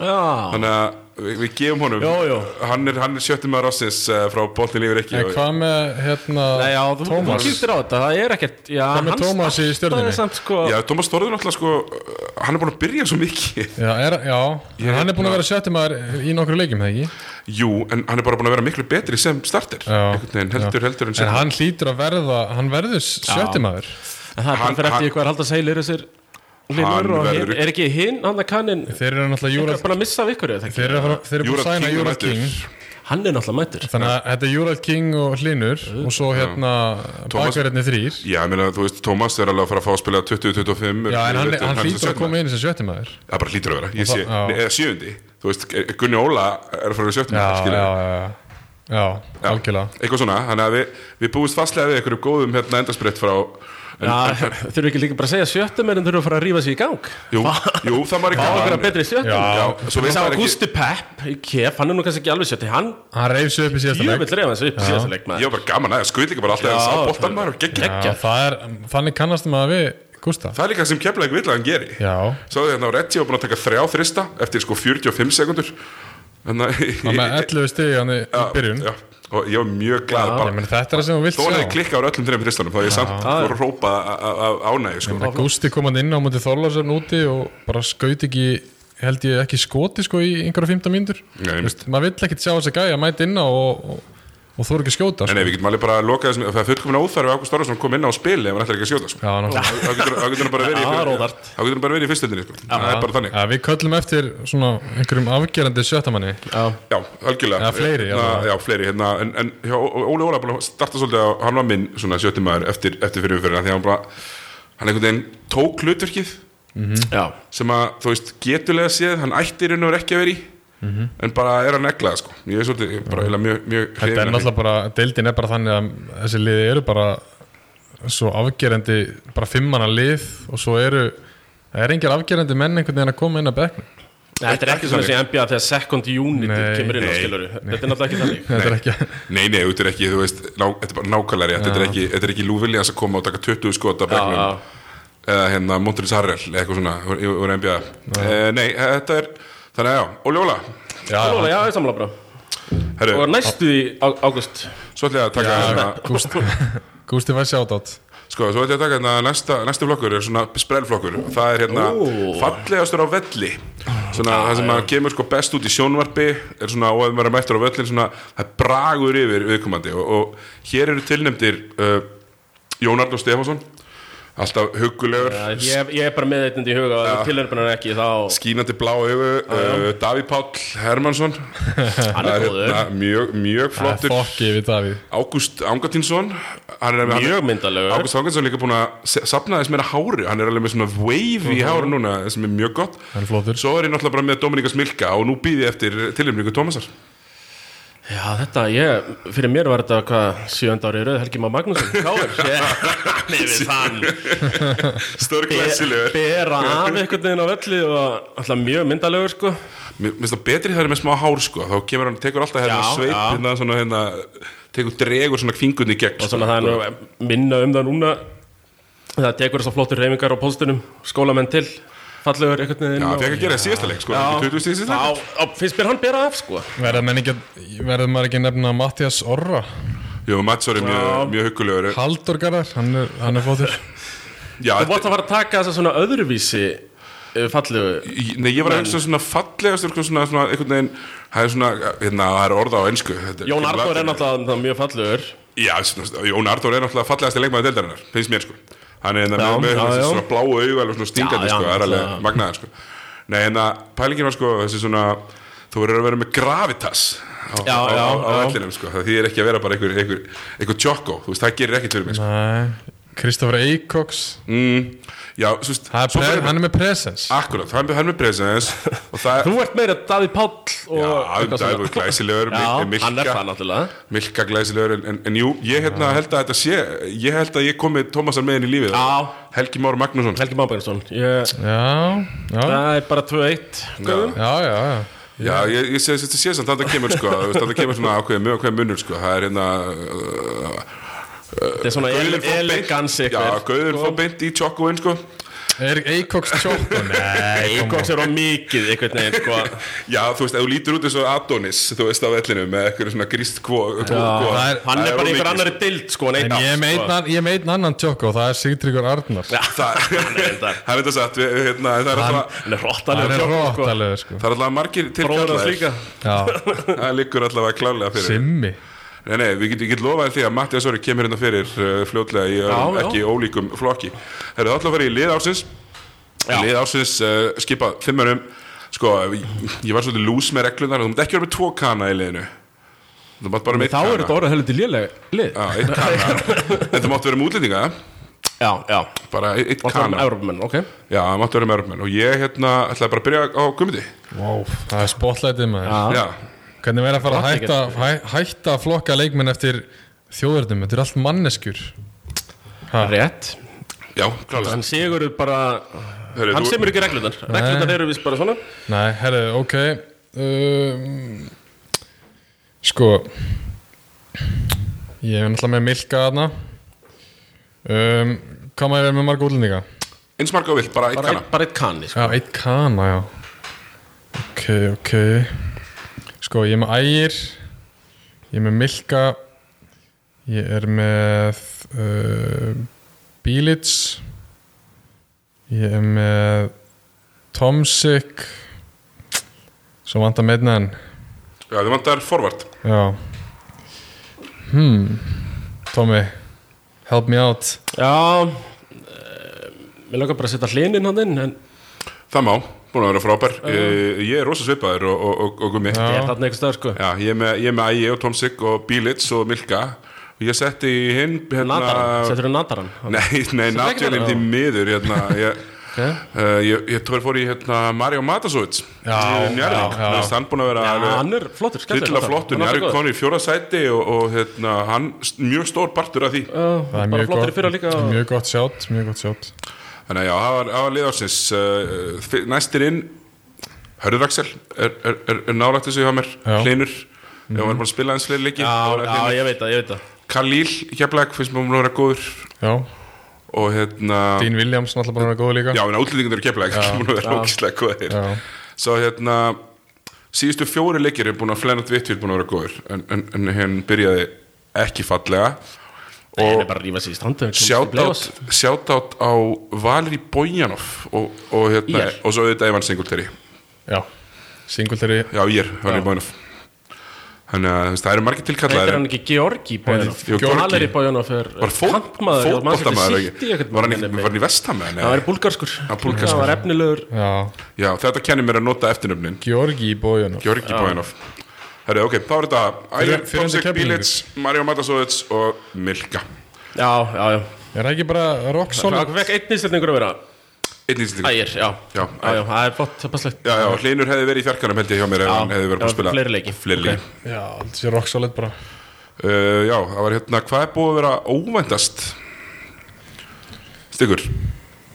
Já, þannig að við, við gefum honum Jó, jó. hann er, hann er sjöttum að rossins uh, frá Bóttin Lífur ekki En hvað með hérna Nei, já, þú, þú Tómas kýttir á þetta, það er ekkert Já, með hann Tómas í startaði Stjörnunni? samt, sko, Já, Tómas Þorður náttúrulega sko uh, hann er búin að byrja svo mikið Já, er, já Ég- hérna hann er búin að vera sjötti maður í nokkru leikjum, það ekki? Jú, en hann er bara búin að vera miklu betri sem starter Já. einhvern veginn heldur, heldur en En sem hann hlýtur að verða, hann verður sjötti maður En það er bara Hann- fyrir hann- eftir í hvað er haldast heilir þessir Linur og verður- hinn, er ekki hinn, hann að kannin Þeir eru náttúrulega Þeir Júrald eru bara að missa af ykkur eða Þeir ekki? eru að fara- þeir eru búin að Júrald sæna King er Júrald mættur. King Hann er náttúrulega mættur Þannig að þetta er Júrald King og Hlinur Og svo hérna Thomas- bakverðinni þrýr Já, ég meina, þú veist, Tómas er alveg að fara að fá að spila 20-25 Já, en hann, hann hlýtur að koma inn inn sem sjötti maður Það bara hlýtur að vera, ég Og sé, það- já. nei, eða sjöundi Þú veist, Gunni Óla er að fara að sjöfna Já, já, já, já Já, algjörlega Eitthvað svona, þannig að við, við búumst fastlega við einhverjum góðum hérna endarspritt frá en, Já, þurfum ekki líka bara að segja sjöttum en þurfum að fara að rífa sér í gang jú, jú, það var Fá okkur að ekki betri sjöttum Já. Já, svo veist Sá maður ekki Gusti Pepp í Kef, hann er nú kannski ekki alveg sjötti Hann Hann reyf sér upp í síðasta leik djúvill reyða þessu upp Já. síðast leik Ég maður var bara gaman aðeins, skuð líka bara alltaf eins á Já, boltan maður og geggja Já, það er, þannig kannast maður við Gústa Það er líka sem kemla eitthvað hann geri Já, Sáðu hérna á Reggie og búin að taka þrjá þrista eftir sko 45 sekundur hann með Þannig 11 stig hann í í byrjun Já, og ég var mjög glad bara Ég meni, þetta er það sem þú vilt Þó að það sjá klikka á öllum þreim fristunum þá ég samt voru að rópa af ánægju sko. Þannig að Gústi kom hann inn á mútið Þorláðsson úti og bara skaut ekki held ég ekki skoti sko í einhverja 15 mínútur Nei. Þú veist, maður vill ekkert sjá þess að gæja mæta inn á og, og, og þú eru ekki að skjóta En sko. ef við getum alveg bara að loka þessum Það er fullkomin óþarfi að Ágúst Þorvarsson kom inn á spili ef hann ætlar ekki að skjóta sko. Já, náttúrulega. Þá getur þá getur hann bara verið í- Já, það er óþarft. Þá getur hann bara verið í fyrstöldinni sko. Það er bara þannig ja, við köllum eftir svona einhverjum afgerandi sjöttamanni Já, Já, algjörlega Eða fleiri, hérna, allavega. Já, fleiri hérna, En, en hjá, Ó- Óli Óla bara starta svolítið á Hann var minn svona sjöttimaður eftir, eftir fyrir umfyrirna Því að hann bara Hann einhvern veginn tók hlutverkið já Sem að, þú veist, getulega séð Hann ætti í raun og veru ekki að vera í En bara er að negla það sko Ég er svolítið, ég er bara eiginlega mjög, mjög Mhm. þetta er hrifinn af því. náttúrulega bara, deildin er bara þannig að þessi liði eru bara svo afgerandi, bara fimmana lið og svo eru það er engir afgerandi menn einhvern veginn að koma inn að bekknum Nei, Þetta er Ekki ekki svona þannig. sem NBA þegar second unit Nei. kemur inn á Nei. skilur Þetta er náttúrulega ekki þannig þetta er ekki Nei, nei, þetta er ekki, þú veist, ná, þetta er bara nákvæmlega rétt, þetta er ekki, þetta er ekki Lou Williams að koma og taka 20 skot af Já, begnum, eða hérna Montrils Harrell, eða eitthvað svona, úr- úr úr NBA. Eh, Nei, þetta er, þannig að já, Óli Óla, Já, já, já, ég samla bara herru, Og næstu í á- ágúst svo ætla ég að taka, hérna, Gústi, Gústi fær sjátátt sko, svo ætla ég að taka, hérna, næsta, næsti flokkur er svona sprellflokkur, það er hérna Ó. fallegastur á velli, svona það sem að kemur sko best út í sjónvarpi, er svona, og ef maður er mættur á vellin, svona, það er bragur yfir viðkomandi og, og hér eru tilnefndir, uh, Jón Arnur Stefánsson alltaf huggulegur Já, ég, ég er bara með þetta í huga og ja. tilhörpunar ekki þá skínandi blá augu uh, Daví Páll Hermansson hann Það er er góður, hérna mjög, mjög flottur Fokki við Davíð Ágúst Angartinsson hann er hann- mjög myndalegur Ágúst Angartinsson er líka búin að se- safna þess meira hári hann er alveg með svona wave í Mhm. hári núna sem er mjög gott Hann er flottur. svo er ég náttúrulega bara með Dominika Smilka og nú býði ég eftir tilhemningu Tómasar Já, þetta, ég, fyrir mér var þetta hvað, sjönd ári í rauð, Helgi Má Magnússon Káir, ég nefnir þann störglæsilegur bera af einhvern veginn á velli og alltaf mjög myndalegur sko Mér finnst það betri það er með smá hár sko þá kemur hann, tekur alltaf hérna Já, sveip já. hérna svona hérna tekur dregur svona kvingunni í gegn sko. og svona það er nú minna um það núna það tekur þess að flottur reyfingar á póstunum skólamenn til, fallegur einhvern veginn Já, og- það fekk að gera það síðasta leik sko, Já. 20 stíð síðasta Já, leik á, finnst mér hann bera af sko Verða menn ekki Verður maður ekki að nefna Mattias Orra Jú, Mats var mjög, mjög huggulegur Haldur Garðar Hann er, hann er flottur Já, Þú vart að fara að taka þess að svona öðruvísi eh, fallegu Í- Nei, ég var að hugsa svona fallegast svona, svona, svona einhvern veginn það er svona, hérna, það er orða á ensku þetta Jón Arnór er kemur- náttúrulega það, mjög fallegur Já, svona, Jón Arnór er náttúrulega fallegasti leikmaður deildarinnar, finnst mér sko Hann er hérna Já, með, með já, þessi já. svona bláu auga alveg svona stingandi Já, já, sko, það er alveg náttúrulega. magnaðar sko Nei, en að pælingin var sko þessi svona þú verður að vera með gravitas á, Já, á, á, já, á já. vellinum sko, það þýðir ekki að vera bara einhver, einhver, einhver tjokko, þú veist, það gerir ekkert fyrir mig sko. Nei Kristoffer Eikoks mm, Já, þú veist, Það er svo pre, bara- Hann er með presens Akkurat, hann hann er með presens og það Þú ert meira Davíð Páll og Já, eitthvað Davíð svona. glæsilegur, Já, Mil- Milka. hann er það náttúrulega Milka glæsilegur en, en, en jú, ég hérna held að þetta sé ég held að ég komi Tómasar með inn í lífið Já. Helgi Már Magnússon Helgi Mábænsson ég, Já Já Það er bara 2-1 Guðum. Já já já Já, ég, ég sé þetta sé samt að það kemur sko þú veist, þarna kemur svona ákveðið mjög ákveðið munur sko það er hérna uh, Þetta er svona Gauðin fór ele Sko. beint- elegans Já, ykkur Gauður fór beint í tjokkuinn sko Er Eikoks tjókko? Nei kom Eikoks er á mikið einhvern veginn sko Já, þú veist, ef þú lítur út eins og Adonis þú veist á vellinu með eitthvað svona gríst kvó það er- Hann er bara í einhver annar annari dild sko en En einn ég er með einn ann- ég er með einn annan tjókko og það er Sigtryggur Arnar Það Hann er þetta það er þetta satt við, við, hérna, það er alltaf Hann er Hann rottalegur er tjókk, sko. rótalegur sko það er alltaf margir Bróður hans tilkallaðir líka Já það liggur allavega klálega fyrir Simmi Nei, nei, við getum get lofaði því að Matti Asori kemur hérna fyrir uh, fljótlega í uh, já. ekki ólíkum flokki. Það eru alltaf að fara í lið ársins. Já. Lið ársins uh, skipað fimmurum. Sko, ég, ég var svolítið lús með reglunar, þú mátt ekki vera með tvo kana í liðinu. Þú mátt bara með eitt Þá kana. er þetta orðið helviti léleg lið Já, eitt kana. en þú mátt vera með útlendinga, Já, já bara eitt- eitt Og það er kana. Evropamenn, ok Já, þú mátt vera með örmenn. Og ég hérna ætlaði bara að byrja á gummiti. Wow Það er spotlightið maður Já, Hvernig verður að fara að Gott hætta, hæ, hætta að flokka leikmenn eftir þjóðverðnum? Þetta er allt manneskjur. Ha, Rétt já, klálega. Hann sigur bara Hörru, Hann þú- semur ekki reglundar Reglundar eru vist bara svona Nei, herru, ok. Um, sko, ég er náttúrulega með Milka þarna. Um, hvað maður er með marga útlendinga? Eins marga og vilt, bara eitt Bara kana. eitt- Bara eitt kanni sko. Já, eitt kana, já. Ok, ok. Sko, ég er með ægir, ég er með milka, ég er með uh, bílits, ég er með tomsik, svo vantar meðna en, Já, þú vantar forvart. já. Hmm, Tommy, help me out. Já uh, Mér Eh, langar bara að setja hlinin hann inn En Það má, búin að vera frábær. Ég, ég er rosa svipaður og, og, og, og gummi. ég er þarna einhver stöð sko Já, ég er með, ég er með Ægi og Tom Sigg og Bílits og Milka og ég setti í hinn hérna, Nataran, setur þú Nataran Nei, nei, ekki Nadjalinn Nataran? því miður hérna, ég, okay. uh, ég, ég tóri fór í hérna, Mario Matasovic Já, já, já. Hann búin að vera Já, alveg hann er flottur, skemmtilegur hryllilega flottur, Nataran. Hann er hann er alltaf konur í fjóra sæti og, og hérna, hann s- mjög stór partur af því Það er Bara mjög flottur í fyrra gott, líka og- mjög gott sjátt, mjög gott sjátt. Þannig að já, það var, það var liðarsins uh, fi- Næstir inn Hörður Axel er, er, er, er nálægt þessu hjá mér Já. Mhm. Hlinur, ef hann er búin að spila eins leir leiki hérna Já, já, ég veit það, ég veit það Kalíl, Hjaflæk, finnst mér hún að vera góður Já, og hérna Dean Williams náttúrulega bara að vera góð líka. já, en útlendingar eru keflæk múin að vera ógislega góðir Já. svo hérna síðustu fjóri leikir er búin að Flennart Vittvíð búin að vera góður en, en, en henn byrjaði ekki fallega Nei, hann er og bara að rífa sig í strandu sjátátt sjátátt á Valeri Bojanov og, og, hérna, IR. og svo auðvitað Ivan Singulteri Já, Singletary já, ég, Valeri Bojanov Þannig að þú veist, það eru margir Heitir tilkallaðir hann ekki Georgi Bójanov? Jú, Georgi. Valeri Bójanov er Var fót, kantmaður og mann fótboltamaður sér ekki? sýtti ekkert Var hann mann, ekki, nefnir. var hann í vestamenn? Það var búlgarskur var búlgarskur. Það var efnilegur Já, Já, þetta kennir mér að nota eftirnöfnin Georgi Bójanov Georgi Bójanov Herru, ok, þá er þetta Ægir, Fyrir- Fonsek, fyrirhundi Bílits, Mario Matasovic og Milka Já, já, já Er það ekki bara rock Það solid? fekk einn íslendingur að vera Einn íslendingur Ægir, já Já, já, já, það er flott, það er passlegt Já, já, Hlinur hefði verið í fjarkanum held ég hjá mér ef Já, hann hefði verið búin já, að spila fleiri leiki. Fleiri leiki. Já, þetta sé rock solid bara Uh, Já, það var hérna, hvað er búið að vera óvæntast? Stiggur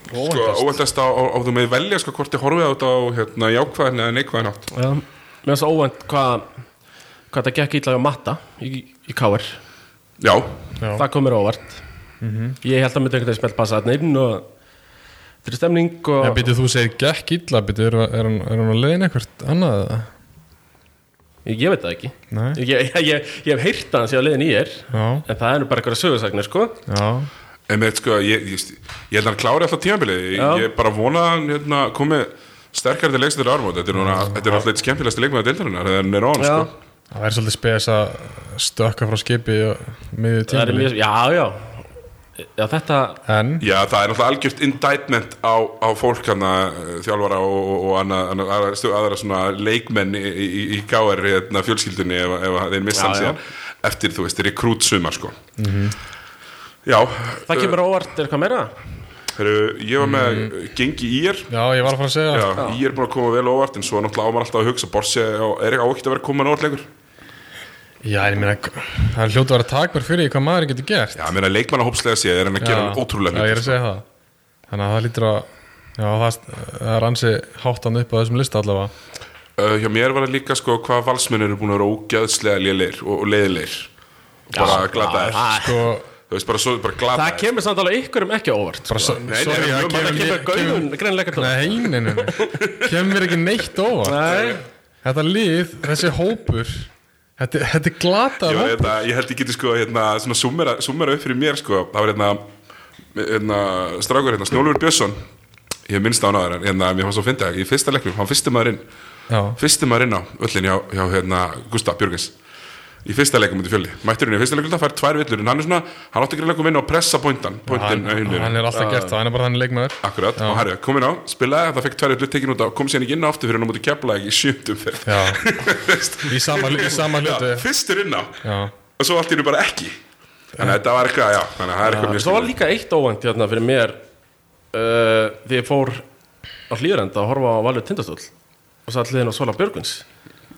Sko, óvæntast á, á, á þú með velja sko hvort þið horfið á þetta á hérna, jákvæðin eða neikvæðin átt Já, Mér finnst óvænt hvað hvað þetta gekk ítlaði á matta í, í Káar Já, Mhm. Já. það kom mér á óvart Ég held að myndi einhvern veginn smelt passa þarna inn og þetta er stemning og Já, býttu, þú segir gekk illa, býttu, er, er, hann- er hann að leiðin eitthvað annað? eða? ég, ég veit það ekki Nei. ég, ég, ég, ég hef heyrt að hann sé á leiðin í er Já, en það er nú bara einhverja sögursagnir sko já, en með sko, ég, ég, ég held að hann klári alltaf tímabilið Ég- Já. Ég bara vona að hann hérna, komi sterkar til leikstur ármót Þetta er núna, þetta er alltaf eitt skemmtilegasti leikmaður deildarinnar þegar hann er on sko. já, það væri svolítið spes að stökka frá skipi miðið það er tímili mjög, já, já já, þetta En, Já, það er náttúrulega algjört indictment á, á fólk hana, eh, þjálfara og, og, og anna, anna, aðra, stu, aðra svona leikmenn í, í, í KR hérna, fjölskyldunni ef, ef þeir missa Já, hann já. síðan eftir, þú veist, rekrút sumar sko. Já, það kemur á óvart er eitthvað meira heru, ég var með mm gengi í er já, ég var að fara að segja Já, ég er búin að koma vel á óvart en svo náttúrulega ámar alltaf að hugsa Borsi og er ekki ákvæmt að vera komin óvart lengur Já, ég meina, það er hljótu að vera takmar fyrir því hvað maður getur gert Já, ég meina leikmanna hópslega séð er hann að gera ótrúlega Já, ég hluti er að segja það Þannig að það lítur að Já, það, það er ansi háttan upp á þessum lista allavega uh, hjá mér var það líka sko hvað valsmenn eru búin að vera ógæðslega lélegir og, og leiðilegir og bara glataðir það, Sko, þú veist bara svo bara glataðir það kemur samt alveg ykkur um ekki á óvart bara, so- nei, sorry, nei, það það það kemur kemur gauðun greinlega ekki á óvart. Nei, nei, nei, nei Kemur ekki neitt óvart Nei, Þetta lið, þessi hópur Þetta, þetta er glatað ég, var, hópur hérna, ég held ég geti sko hérna, svona summera, summera upp fyrir mér sko það var hérna, hérna strákur hérna, Snjólfur Björnsson ég minnst á hann áður en hérna, mér fannst svo að finna í fyrsta leiknum, hann fyrsti maður inn Já, fyrsti maður inn á öllin hjá, hjá hérna, Gustaf Björgens í fyrsta leikum út í fjöldi, mættur hann í fyrsta leikum það fær tvær villur en hann er svona, hann átti ekki leikum inn og pressa pointan, pointin hann, hann er alltaf gert það Hann er bara þannig leikmaður Akkurat, og Harry kom inn á, spilaði, það fekk tværið tekin út á, kom síðan ekki inn á aftur fyrir hann á móti keflaði í sjöndum fyrir Já, í sama, í sama hlutu Fyrstur inn á, Já, og svo allt í hennu bara ekki Þannig að þetta var eitthvað, já, þannig að það er eitthvað mjög Svo var skilur líka eitt óvænt hérna fyrir mér uh, því ég fór á hlýðurenda að horfa á Valur Tindastóll og satt hliðin á Sola Björguns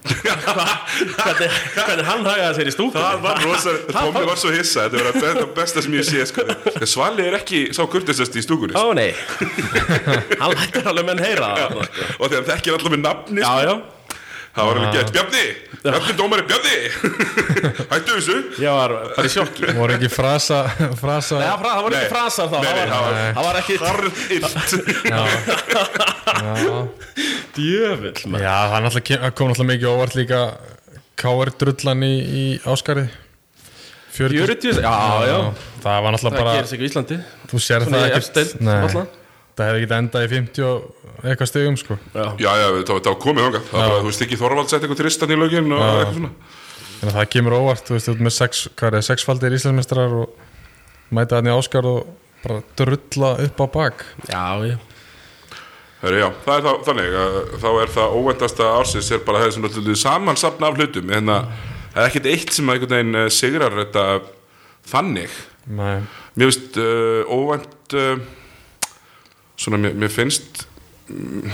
hvernig, hvernig hann hagaði sér í stúkunni Það var rosa, Tommi var svo hissa, þetta var að be- það besta sem ég sé sko. Þegar Svali er ekki sá kurtisast í stúkunni Ó sko. nei Hann lættir alveg menn heyra það sko. og þegar hann þekkir alltaf með nafni Já, sko, já það var alveg gett, Bjarni, Bjarni dómari, Bjarni Hættu þessu Ég var bara í sjokki voru ekki frasa, frasa Nei, það fra- það voru Nei. ekki frasar þá Nei, nei, það það var- var- Það var ekki Harðilt djöfull maður. Já, það er náttúrulega kem- það kom náttúrulega mikið óvart líka K.R. drullan í, í Áskarði 40 Já, já Það var Það náttúrulega bara, gerist ekki í Íslandi þú sér Svona það í ekkert F-deild, Nei. náttúrulega. Það hefði ekkert endað í 50 og eitthvað stegum sko Já Já, já, það var- það var komið þangað Það var bara, þú veist ekki, Þorvald sett eitthvað tristan í lögin og eitthvað svona Þannig að það kemur óvart, þú veist, þú ert með sex, hvað er það, sexfaldir íslensmestrar og mæta hann í Áskarð og bara drulla upp á bak Já, já Heru, já, það er þá, þannig að þá er það óvæntasta ársins er bara það er svona alltaf samansapna af hlutum en að það er ekkert eitt sem að einhvern veginn eh, sigrar þetta þannig Nei, mér finnst uh, óvænt uh, svona mér, mér finnst um,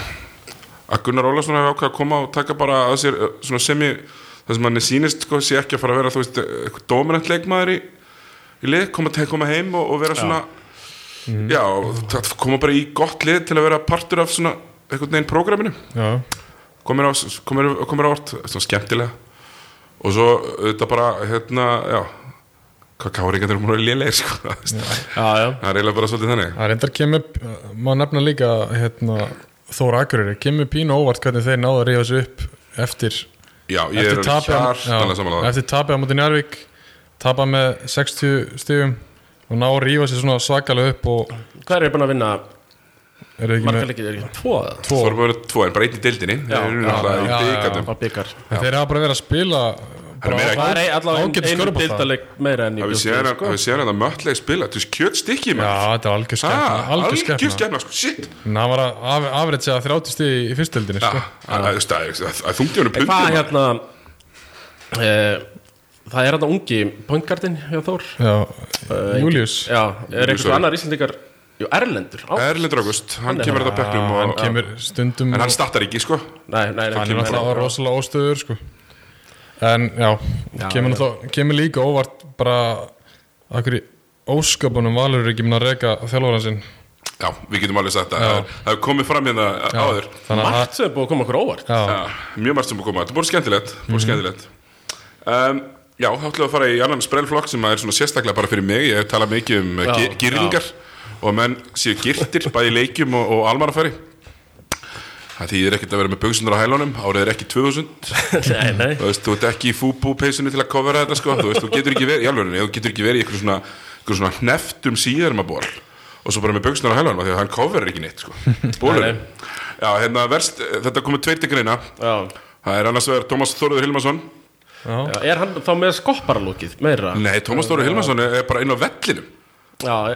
að Gunnar Ólason hefur ákveð að koma og taka bara að sér eh, svona semi það sem hann er sýnist sko, sé ekki að fara að vera þú veist eh, eitthvað dominant leikmaður í, í lið koma, te- koma heim og, og vera svona já, og já koma bara í gott lið til að vera partur af svona einhvern veginn prógraminu já, komir á, komir, komir á orð svona skemmtilega og svo þetta bara hérna, já hvað káringar eru múin að vera lélegir sko þú veist. Já, já það er eiginlega bara svolítið þannig það reyndar kemur, maður nefna líka hérna, Þóra Akureyri, kemur pínu óvart hvernig þeir náðu að rífa sig upp eftir já, ég eftir er tapið á- hjartanlega já, samanlega eftir tapið á móti Njárvík tapa með 60 stigum og ná að rífa sér svona svakalega upp og Hvað er ég búin að vinna? eru ekki með Margarleikið er ekki Tvo eða? það voru bara tvo en bara einn í deildinni Já, þeir eru já, náttúrulega já, í já, byggatum á byggar en þeir hafa bara verið að spila er meira Það er ein- allavega Ágætis ein- einu körfubolta. dildaleg meira en ég Hafið bjóst séð við, hana- sko. hafið séð hann að mötleg spila Þú veist, kjötstykki Já, maður þetta er algjör Ha, skefna Algjör Ah, Algjör skefna skefna, sko, shit En hann var að afrætsja 30 stig í- í fyrstöldinni Já, sko. að- að- þú veist, að- að þungti honum En pundum hvað maður. hérna e, Það er hérna ungi Pointgardin hjá Þór Já, Július Já, er einhversu Sorry. annar íslendingar Jú, Erlendur á, Erlendur August, hann er- kemur þetta á bekknum Hann og- kemur stundum En hann og- startar ekki, sko Nei, nei, nei hann er náttúrulega rosalega óstöður sko. en já, Já, kemur, já. náttúrulega- kemur líka óvart bara akkur í ósköpunum valur er ekki mun að reka þjálfóran sinn Já, við getum alveg sagt að það hefur komið fram hérna áður þannig að Margt sem er búið að koma okkur á óvart já, Já, Mhm. mjög margt sem búið að koma, þetta er búið skemmtilegt, búið skemmtilegt. Um, já, þá ætlum við að fara í annan sprellflokk sem er svona sérstaklega bara fyrir mig, ég hef talað mikið um Já, já, gyrningar og að menn séu girtir bæði í leikjum og, og almannafæri. Það þýðir ekkert að vera með buksundur á hælunum, árið er ekki 2000, Nei, nei þú veist, þú ert ekki í fúbú-peysunni til að covera þetta, sko, þú veist, þú getur ekki verið, í alveg, þú getur ekki verið í eitthvað svona, eitthvað svona hneftum síðarmaból og svo bara með buksundur á hælunum, af því að hann coverar ekki neitt, sko, bólurinn. Já, hérna, verst, þetta komið tveir til greina, Já. Það er annars vegar Tómas Þóruður Hilmarsson Já, Er hann þá með skopparalúkið meira? Nei, Tómas Þóruður Hilmarsson er er bara inn á vellinum Já, Ha,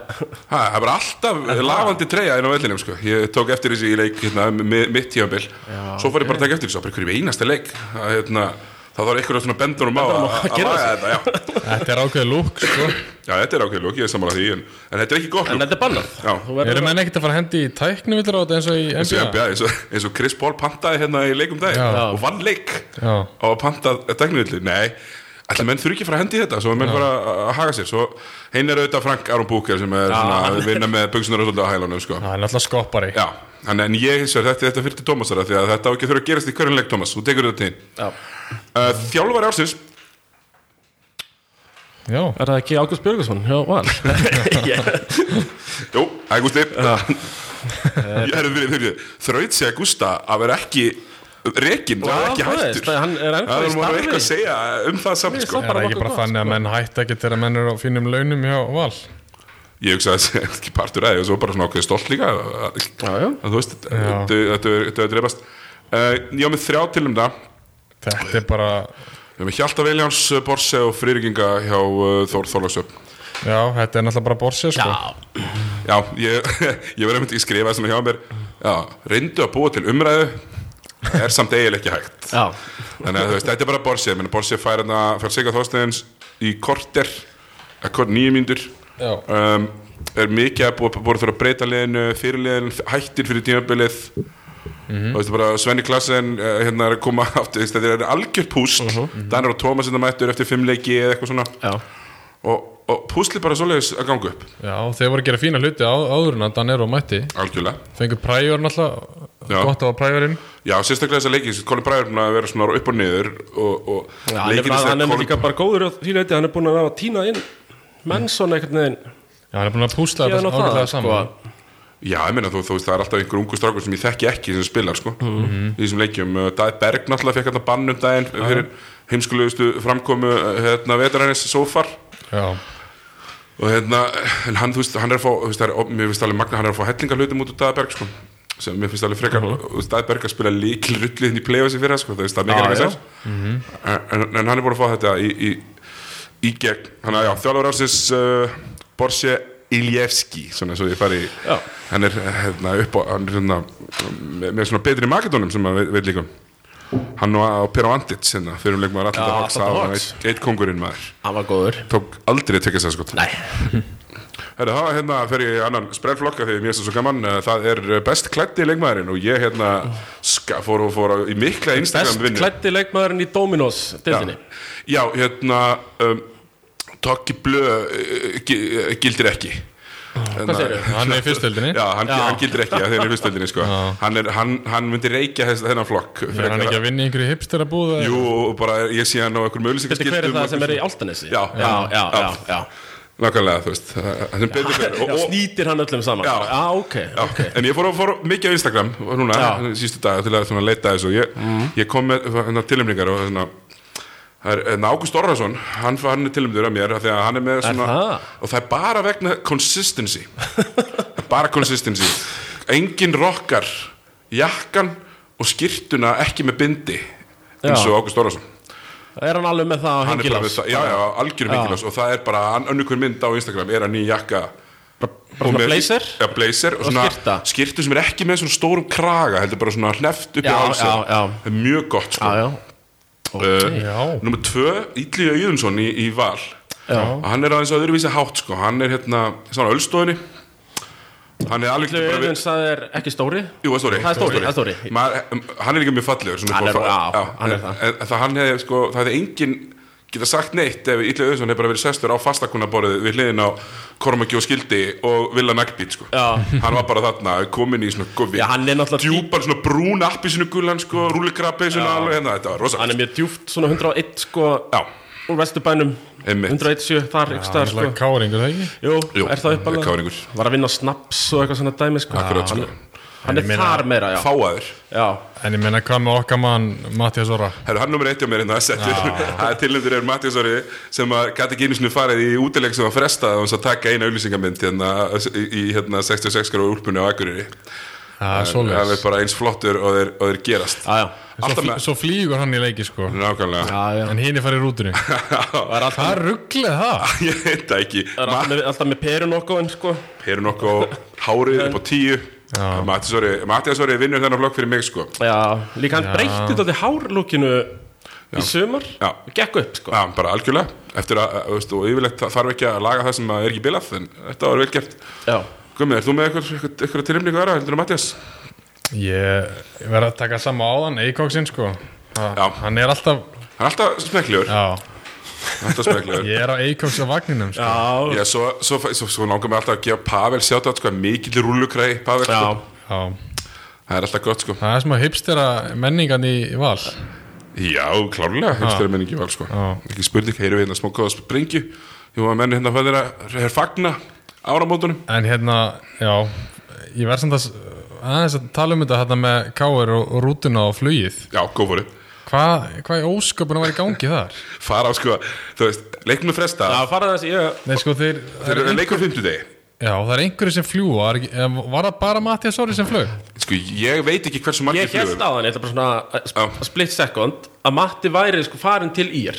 Það er bara alltaf lafandi treyja inn á vellinum sko. Ég tók eftir þessi í leik hérna, mi- mitt tímabil Svo fór ég bara að taka eftir þessu Það er hverjum einasta leik Það, hérna, það þarf einhverjum svona bendunum á að Bendunum um á að að gera laga þetta já. þetta er ákveðið lúk sko. já, þetta er ákveðið lók, ég er samanlega því En, en þetta er ekki gott en lók þetta er bannað Já. Þú verður- eru menn ekkert að fara að hendi í tæknum á þetta eins og í eins og, NBA NBA, eins, og, eins og Chris Paul pantaði hérna í leikum dag Já. og vann leik Já. á að panta dagnuðli, nei Ætli menn þurfi ekki að fara að hendi í þetta, svo að menn fara að að haga sér Svo hinn er auðvitað Frank Aron Búker sem er svona að vinna með buksunar og svolítið á hælunum sko. það er náttúrulega skoppari Já, en, en ég hins vegar þetta, þetta fyrir til Tómasara því að þetta á ekki að þurfa að gerast í hverjum leik Tómas, þú tekur þetta til Já. uh, Þjálfari ársins, já, Er það ekki Ágúst Björgusson? Já, val jú, hæ Gústi Ég er fyrir því Þraut segja Gústa að vera ekki rekinn, að vera Já, ekki það veist, hættur hann er ennþá Það er í maður starfi. eitthvað að segja um það samt sko. er Bara það ekki nokkuð bara gott, þannig að sko. menn hætta ekkert þegar menn eru á fínum launum hjá val ég hugsa að það er ekki partur að því og svo bara svona ákveðið stolt líka að, Já, já. að þú veist, þetta þetta er þetta er að dreifast uh, ég á með þrjá til um það ég þetta er bara, á með Hjalta Viljáns, uh, Borse og Frýringinga hjá uh, Þór Þorlagsöp já, þetta er náttúrulega bara borsið sko. Já, já, ég, ég verður myndi ekki skrifa svona hjá mér já, reyndu að búa til umræðu er samt eiginlega ekki hægt já þannig að þú veist, þetta er bara Borse menn Borse fær hann að fær Sigga Þorsteins í korter, akkord nýju mínútur Já. um, er mikið að búið, búið fyrir að breyta liðinu fyrirliðin, hættir fyrir tímabilið Mhm. þú veist bara Svenni Klassen uh, hérna er að koma aftur þú veist, þetta er algjör púsl, uh Mhm. Danir og Tómas hérna mættur eftir fimm leiki eða eitthvað svona Já, og, og púslið bara svoleiðis að ganga upp já, þeir voru að gera fína hluti á, áður en að Danero mætti algjörlega, fengur præjur náttúrulega, Já. gott að var præjurinn já sérstaklega þessa leiki Colin Bræður er búinn að vera svona upp og niður og, og Já, hann er, bara- hann er líka bara góður á því leiti, hann er búin að ná að tína inn Manson einhvern veginn Já, hann er búin að púsla Ég er þetta nú það, ágætlega sko. saman Já, ég meina, þú, þú veist, það er alltaf einhver ungu strákur sem ég þekki ekki sem spilar, sko, í þessum leikjum Uh, Daði Berg náttúrulega fekk hann að bann um daginn fyrir heimskulegustu framkomu uh, hérna, vetarænins sófar Já, og hérna, en hann, þú veist, hann er að fá þú veist, það er, og mér finnst alveg magna, hann er að fá hellingar hlutum út úr Daði Berg, sko, sem mér finnst alveg frekar þú veist, Daði Berg að spila líkil rullið inn í play-offsi fyrir það, sko, þú veist, það er Já, mikið já. Mhm. ekki sér en, en hann er búin að fá þetta í, í, í gegn, hann að já, þjálfur ársins uh, Borsi Iljevski, svona eins og ég fari í Já. hann er hérna upp á, hann er hérna með, með svona betri maketónum sem maður veit- veit líka um. hann og Pera Vandits hérna, fyrir um leikum að Já, alltaf Atlanta að Hawks. hoksa eitt kongurinn maður, Hann var góður tók aldrei tekið sér sko Nei, Herra, það hérna fer ég í annan sprellflokka því mér er svo gaman, eh, það er eh, best klætti leikmaðurinn og ég hérna ska, fór, fór í mikla best Instagram vinnu klætti leikmaðurinn í Dominos já, deildinni já, hérna um, Tokki Blö eh, gi- eh, gildir ekki Hvað segirðu? hann er í fyrstöldinni Já, hann, Já. hann gildir ekki, þeir eru fyrstöldinni sko. hann, er, hann, hann myndi reykja þess, þennan flokk Er hann frekar. ekki að vinna í einhverju hipster að búða? Jú, og bara ég sé hann á einhverjum Þetta auðlýsingaskiltum hver er það sem er í Áltanesi um Já. já, já, Já. já, já. Nákvæmlega, þú veist það- það sem betur fer. já Og- og- Snýtir hann öllum saman Já. ok, Já, ok En ég fór, að- fór mikið á Instagram núna, Já. Mhm. sístu daga til að svona, leita að þessu ég, ég kom með hérna, tilumningar og svona Það er en Ágúst Orrason, hann, hann er tilumdur af mér af því að hann er með svona það? og það er bara vegna consistency Það er bara consistency engin rockar jakkan og skýrtuna ekki með bindi eins og Ágúst Orrason er hann alveg með það á hann er bara hengilás með það, já, já, Ah. algjör hengilás og það er bara, önnur hver mynd á Instagram er hann í jakka bara svona blazer? já, blazer og, Og svona skyrta. skýrtu sem er ekki með svona stórum kraga heldur bara svona hleft upp í Já, hálsa já, já. Ah, það er mjög gott sko. já, já. okay. Já. Númer tvö, Ídli Auðunsson í, í Val Já. Hann er aðeins öðruvísi hátt sko Hann er hérna, svona ölstofinni Hann er alveg Ætli bara við- Auðun, það er ekki stóri Jú, það er stóri Það er stóri, það er stóri. Maður, Hann er líka mjög fallegur svona upp Hann á er- fa- já, hann er en- það. en Það hann hefði sko, það hefði engin geta sagt neitt ef Ídli Auðunsson hefði bara verið sestur á fastakunaborðið við hliðin á Kormaki og Skildi og Villa Nagbít sko Já. Hann var bara þarna, komin í svona gufi Já, hann er náttúrulega Djúpar svona brún appi sinu gulan sko, rúlikrabbi svona alveg hérna, þetta var rosa Hann er mjög djúft, svona 101 sko Já, Úr vesturbænum Einmitt. 117 þar, ykkur Það staðar er sko svona káringur, það ekki? Jú, Jú, er það uppalega káringur. Var að vinna á snaps og eitthvað svona dæmi sko Akkurat, hann, sko. hann er Ég meina- þar meira, já fáaður Já, En ég menna, hvað með okkar mann Mattias Orra? Herru, hann nummer eitt hjá mér hérna að setja Það er tilhendur er Mattias Orri sem að gæti ekki einu sinni farið í útileik sem að fresta og hans að taka eina auglýsingamynd hérna, í í, hérna 66 gráðu úlpunni á Akureyri Það er Það er svoleiðis. bara eins flottur og þeir, og þeir gerast já, já Svo Alltaf fl- með Svo flýgur hann í leiki, sko. Nákvæmlega Já, já En hinn er farið í rútunni. Það er alltaf, Hvað rugglega það? Ég veit það ekki það er alltaf, með, alltaf með perun okkur sko Hér er nokkuð hárið upp á tíu Já. Mattias Orri, Mattias Orri vinnur þennan flokk fyrir mig sko Já, líka hann breytti þetta hárlúkinu í sumar Já. og gekk upp sko Já, bara algjörlega Eftir að, að veist, og yfirleitt þarf ekki að laga það sem að er ekki bilað en þetta var vel gert Já, Guðmið, er þú með eitthvað, eitthvað, eitthvað tilhemningu aðra heldur en Mattias? Ég verð að taka sama áðan, Eikóksinn, sko. Ha, Já. hann er alltaf... Hann er alltaf smekljur Já, Alltaf smekljur ég er á Eikóks á vagninum, sko. já, Já, svo, svo, svo, svo langar mig alltaf að gefa Pavel sjátt sko, mikil rúllukræði Pavel já. sko. Já. Það er alltaf gott sko Það er smá hipstera menningan í í val. Já, klárlega, hefstur er menningi val sko Já. Ekki spurning, heyrum við hérna smókað og springi Jú, að menni hérna fæðir að er fagna áramótunum En hérna, já, ég verð samt að s- aðeins að tala um þetta hérna með káir og, og rútuna og flugið. Já, góð fórið Hvað, hvað er ósköpun að vera í gangi þar? Fara á sko, þú veist, leiknum er fresta Það farið þessi, ég, Nei, sko, þeir, það Þeir er, eru leikur fimmtudegi já, það er einhverju sem fljúa, það er ekki- eða var það bara Mattias Orri sem flög? Sko, ég veit ekki hversu margir ég held á hann, þetta er bara svona að- Já. að split second að Matti væri sko farin til ír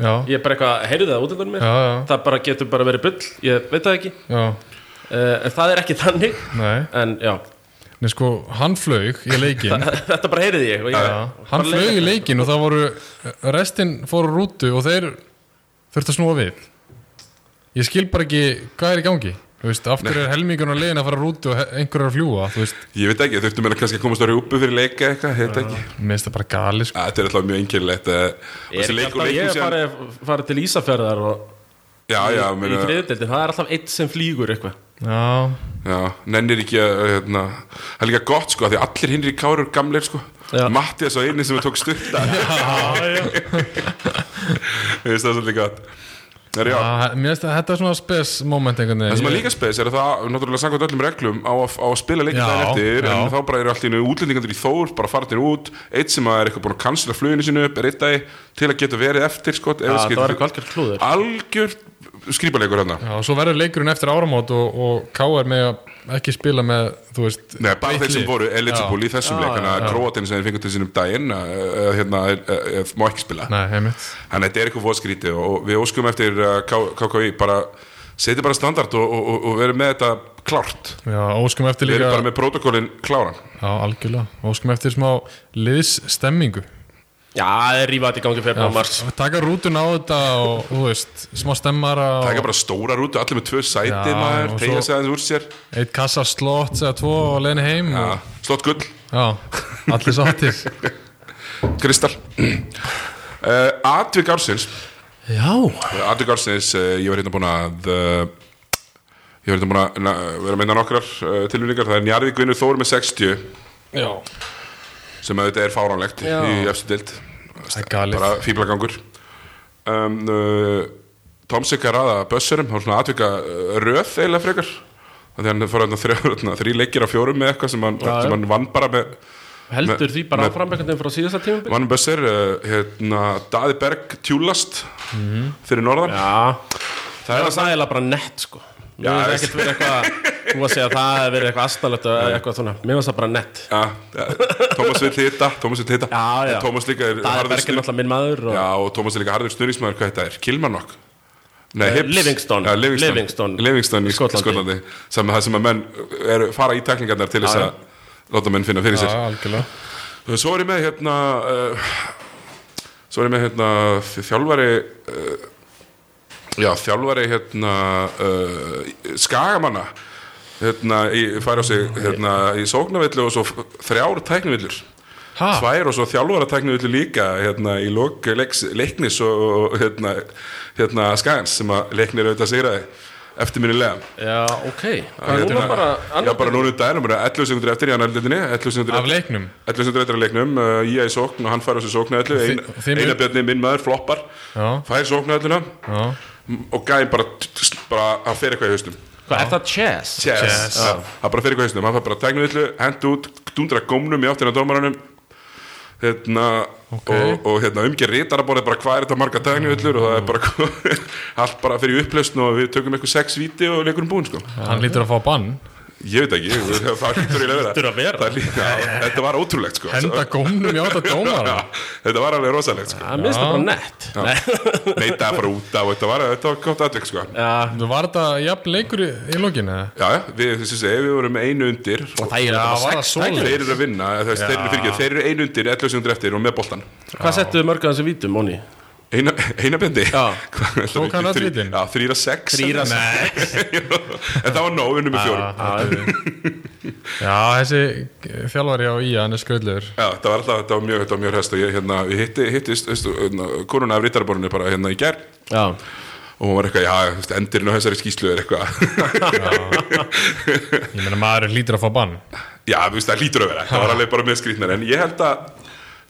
Já, Ég er bara eitthvað, heyrðu það út undan mér Já, já. Það bara getur bara verið bull, ég veit það ekki já, uh, En það er ekki þannig nei, En já, nei, sko, hann flög í leikin, þetta bara heyrði ég og ég já, hann flög í leikin og það voru, restin fóru rútu og þeir þurftu að snúa við. Ég skil bara ekki hvað er í gangi, þú veist, af hverju er helmingun á leiðin að fara rútu og he- einhverju að fljúa, þú veist, Ég veit ekki, þurftum við kannski að komast á rjúpu fyrir leika eitthvað, ég veit ekki mér finnst það bara gali, sko. Að Þetta er alltaf mjög einkennilegt eh, og Ég er þessi ekki leikur- alltaf, leikur ég síðan- farið fari til Ísafjörðar og Já, já, í meina- þriðudeldin, það er alltaf eitt sem flýgur eitthvað Já, Já, nennir ekki að, hérna, það er líka gott sko, af því að allir hinri kárur gamleir sko, Já. Mattias og eini sem við tók styrta, ég veist það er svolítið gott. Það er já, Já, mér finnst að þetta er svona spes moment einhvern veginn það sem að Ég- líka spes er að það, náttúrulega samkvæmt öllum reglum á að, á að spila leikir Já, daginn eftir, já. en þá bara eru allt í einu útlendingandir í þór, bara farnir út, eitt sem að er eitthvað búin að kansla fluginu sinu upp, er eitt dagi til að geta verið eftir sko, ef Já, við það skil- var eitthvað algjörð klúður algjör skrýpaleikur hérna. Já, og svo verður leikurinn eftir áramót og, og K.R. með að ekki spila með, þú veist Nei, bara breytt þeir sem lið. voru eligible í þessum leik Þannig að króatinn sem þeir fengur til sínum daginn eh, eh, hérna, eh, eh, má ekki spila Nei, heimitt Þannig að þetta er eitthvað fóðskríti og við óskum eftir uh, K- KKI bara setja bara standard og, og, og- og verið með þetta klárt Já, óskum eftir verið líka bara með protokólinn kláran Já, algjörlega Óskum eftir smá liðsstemmingu Já, það er rífað í gangi fyrir á mars Taka rútun á þetta og, þú veist, smá stemmara og Það er bara stóra rútu, allir með tvö sæti Já, maður, og tegja svo- sig aðeins úr sér Eitt kassa slott eða tvo og leiðin heim ja, og, Slott gull, Já, allir sáttir Kristall uh, Atvik Ársins Já, Atvik Ársins, uh, ég var hérna búin að uh, ég var hérna búin að na, vera að meina nokkrar uh, tilvinningar það er Njarðvík vinnur Þór með 60 já sem auðvitað er fáránlegt Já. í efstu dild Það er galið. bara fýblagangur um, uh, Tomsik er aða bössurum, hann svona atvika uh, röð eiginlega frekar þannig að hann fór hann þrjá þrjí leikir á fjórum með eitthvað sem hann, já. sem hann vann bara með Heldur Me- því bara me- áfram einhvern veginn frá síðasta tímabil vann bössur, uh, hérna Daði Berg tjúlast fyrir norðan Mhm. Já, það er að það er bara nett sko Nú Já, er það ég- ekkert verið eitthvað Þú að segja að það hefur verið eitthvað astanlegt eða eitthvað svona Mér finnst það bara nett ja, ja, Thomas vil hita, Thomas vil hita Já, já. En Thomas líka er Það er harður Bergir snu- náttúrulega minn maður og Já, og Thomas er líka harður snurringsmaður, hvað þetta er, Kilmarnock Nei, Eh, Hibs Livingston. Já, Livingston, Livingston. Livingston í Skotlandi. Skotlandi, Skotlandi. Sem, það sem að menn er, fara í tekningarnar til þess Já, já. að láta menn finna fyrir Já, sér algjörlega Svo er ég með hérna uh, Svo er ég með hérna Þjálfari uh, Já, þjálfari hérna uh, Skagamanna Hérna, í, færa á sig hérna, í sóknavillu og svo f- þrjár tæknivillur Ha? Tvær og svo þjálfara tæknivillu líka hérna, í lok leiks, leiknis og, og hérna, hérna Skagans sem að leiknir auðvitað sigraði eftirminnilega Já, ok Já, Núna hérna, bara Já, bara núna í daginn, bara 11 sekundur eftir í annar deildinni 11 sekundur Af leiknum? 11 sekundur eftir af leiknum, uh, ég í sókn og hann fær á sig sóknu öllu ein, og þið- Einar Björni, minn maður, floppar Já. Fær sóknu ölluna Já, og gæði bara, t- t- bara hann fer eitthvað í haustum Hvað, er það chess? Yes, Já, hann bara fer eitthvað í haustum Hann fær bara tæknu öllu, hend út, dundra gómnum í áttina dómaranum Hérna, og, og hérna, umgerð rítarabórið bara hvað er þetta marga tæknu öllur og það er bara allt bara fyrir upplausn og við tökum eitthvað sex víti og leikur um búinn sko. hann lítur að fá bann Ég veit ekki, það hlýtur eiginlega Hlýtur að vera. Það líka, Þetta var ótrúlegt sko Henda gómnum í átta dómar Já, Þetta var alveg rosalegt sko Það minnst það bara nett Nei. Neita að fara út af og þetta var, þetta var gott aðvik sko Já, Já, Þú var þetta jafn leikur í, í lokin eða? já, við, þessi segi, við vorum einu undir og það er Já, var bara það sex svoleiðis? þeir tæklingar. eru að vinna þess, þeir, eru fyrir, þeir eru einu undir, 11 sekundur eftir og með boltan Hvað settu mörg að þessu vítum, Móni? Eina, eina bendi Já. Tók hann öll vítin? Já, þrýra sex Þrír að En það var nóg, við unnum með fjórum Já, þessi þjálfari á í hann er skröldlegur Já, það var alltaf, þetta var mjög, þetta var mjög hest og ég, hérna, ég hitti, hittist, veistu, hérna, konuna af rítarborinu bara, hérna, í gær Já, og hún var eitthvað, já, þú veist, endirinn á þessari skýslu er eitthvað Ég meina maður lítur að fá bann já, þú veist, það lítur að vera það var alveg bara með skrýtnar, en ég held að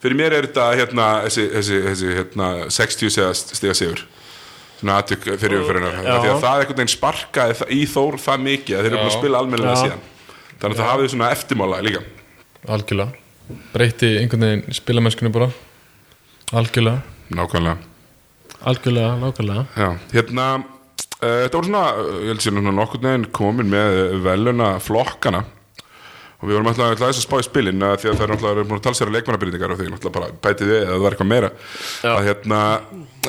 fyrir mér er þetta, hérna, þessi, þessi, þessi hérna, 60 sega- stiga sigur svona aðtök fyrir umfyrirna því Já. að það einhvern veginn sparkaði það- í Þór það mikið að þeir eru búin að Já. spila almennilega Já. síðan þannig að það hafið svona eftirmála líka Algjörlega Breytti einhvern veginn spilamennskunni bara Algjörlega nákvæmlega, algjörlega, nákvæmlega já, hérna uh, þetta voru svona, eh, ég held sér núna nokkurn veginn komin með veluna flokkana og við vorum alltaf alltaf þess að spá í spilin að því að það er alltaf búin að tala sér að leikmannabyrningar og því alltaf bara bætið við eða það var eitthvað meira að hérna,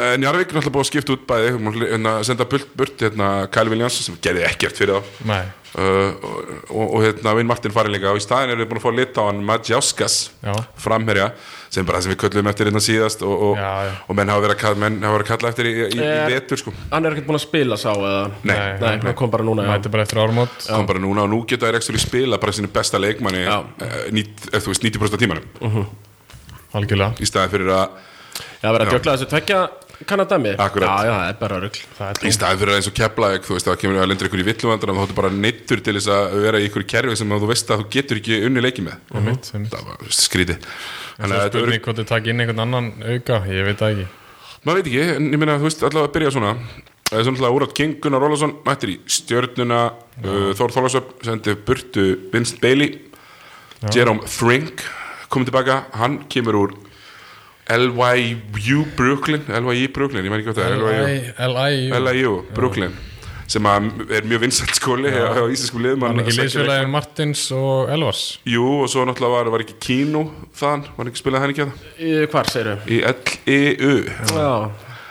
eh, Njarðvík er alltaf búið að skipta út bæði hún er hérna, að senda burt, burt hérna, Kyle Williams sem gerði ekkert fyrir þá Nei, Uh, og, og, og hérna Vinn Martin farin líka og í staðin eru við búin að fá lit á hann Madjauskas Já. framherja sem bara það sem við köllum eftir hérna síðast og, og, Já, já. og menn hafa verið að kalla, menn hafa verið að kalla eftir í, í, Eh. í vetur sko Hann er ekkert búinn að spila sá eða Nei, Nei. Nei, hann kom bara núna já. mæti bara eftir ármót kom bara núna og nú geta þær ekki spila bara sinu besta leikmanni Já. uh, nít, eh, þú veist, 90% af tímanum Algjörlega í staðin fyrir að Já, verið að djökla þessu tvekja kannadæmi Akkurat. Já, já, það er bara rugl Það í er staðin fyrir að eins og keplaðið þú veist það kemur að lendur ykkur í villumandana þá þú bara neittur til þess að vera í ykkur kerfi sem að þú veist að þú getur ekki unni leiki með tómt mitt Það það var skríti þannig Mhm. er að þetta verður- spurning hvort þau takk inn einhvern annan auka Ég veit það ekki maður veit ekki, en ég meina þú veist allavega að byrja svona það er samtlaða úrát King Gunnar Ólafsson mættir í stjörnuna uh, Þór Þólasöp sendi burtu Vincent Bailey Jerome Frink komið tilbaka, hann kemur úr LYU Brooklyn LYU Brooklyn, ég maður ekki hvað það er LYU, L.I. LYU Brooklyn sem að er mjög vinsætt skóli á á íslenskum liðum Hann hann er sko. ekki sækir- leysfélagin Martins og Elvars Jú, og svo náttúrulega var, var ekki Kínu þaðan, var ekki spilað henni ekki að það Í- Hvar, segirðu? í E LEU Já,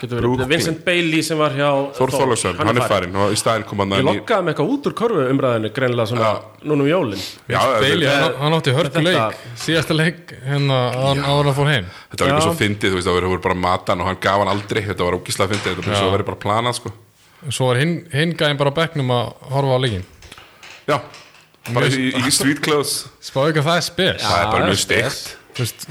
getur verið Brooklyn. Vincent Bailey sem var hjá Þór Þólasöp, hann er farinn og í staðinn kom hann Ég í- lokkaði með eitthvað út úr körfu umræðinu greinlega svona Já. núna um jólin Já, Bailey, þetta- hann, hann átti hörku Þetta- leik Síðasta leik hérna áður en hann fór heim Þetta var Já. líka svo fyndið, þú veist, það voru- voru bara matan og hann gaf hann aldrei, þetta var ógislega fyndið, þetta var svo að vera bara planað, sko. Svo var hinn, hinn gæðin bara á bekknum að horfa á leikin Já, bara í, í street clothes, Spáðu ekki að það er spes það er bara mjög Já, það er steikt. Þú veist,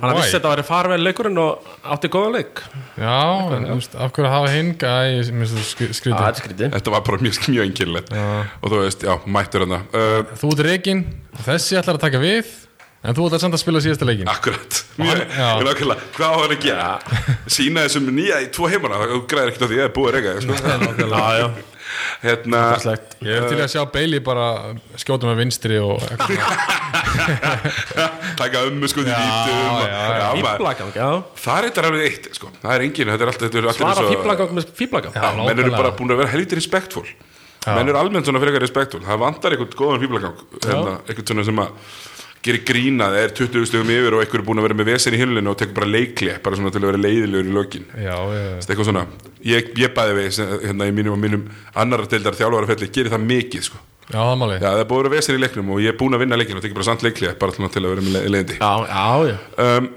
Hann why? vissi að þetta væri farvel leikurinn og átti góðan leik Já, en þú veist, af hverju að hafa hinn gæði Mér finnst þú Það skrítið er skrítið Þetta var bara mjög, mjög einkennilegt. Og þú veist, já, mættur hérna. Uh, hann það. Þú ert reygin, þessi ætlar að taka við En þú ætlar samt að spila síðasta leikin Akkurat, mjög, já. mjög nákvæmlega, hvað á hann að gera? Sýna þessum nýja í tvo heimana, þú græðir ekkert á því, ég er búið að reyka, sko. Já, já, Hérna, slægt Ég er til að sjá Bailey bara skjóta með vinstri og taka ömmu, sko, því Já, vítum. og- já, já. maður. Fíblagang, já Það er þetta alveg eitt, sko. Það er engin, þetta er alltaf, þetta er alltaf Svara fíblagang með fíblagang Já, menn eru nákvæmlega. bara búin að vera helviti respektfól menn eru almennt svona frekar respektúl það vantar einhvern góðan fíblagang hérna, einhvern svona sem að gerir grína það er 20 stugum yfir og einhver er búin að vera með vesen í hiluninu og tekur bara leiklétt bara svona til að vera leiðilegur í lökin já, já, eitthvað svona, ég, ég bæði við sem- hérna í mínum og mínum annar deildar þjálfarafelli, gerir það mikið sko já, það máli Já, það er búið að vera vesir í leiknum og ég er búin að vinna leiknum og tekið bara samt leiklið, bara til til að vera með le- leiðindi. Já, já, já Um,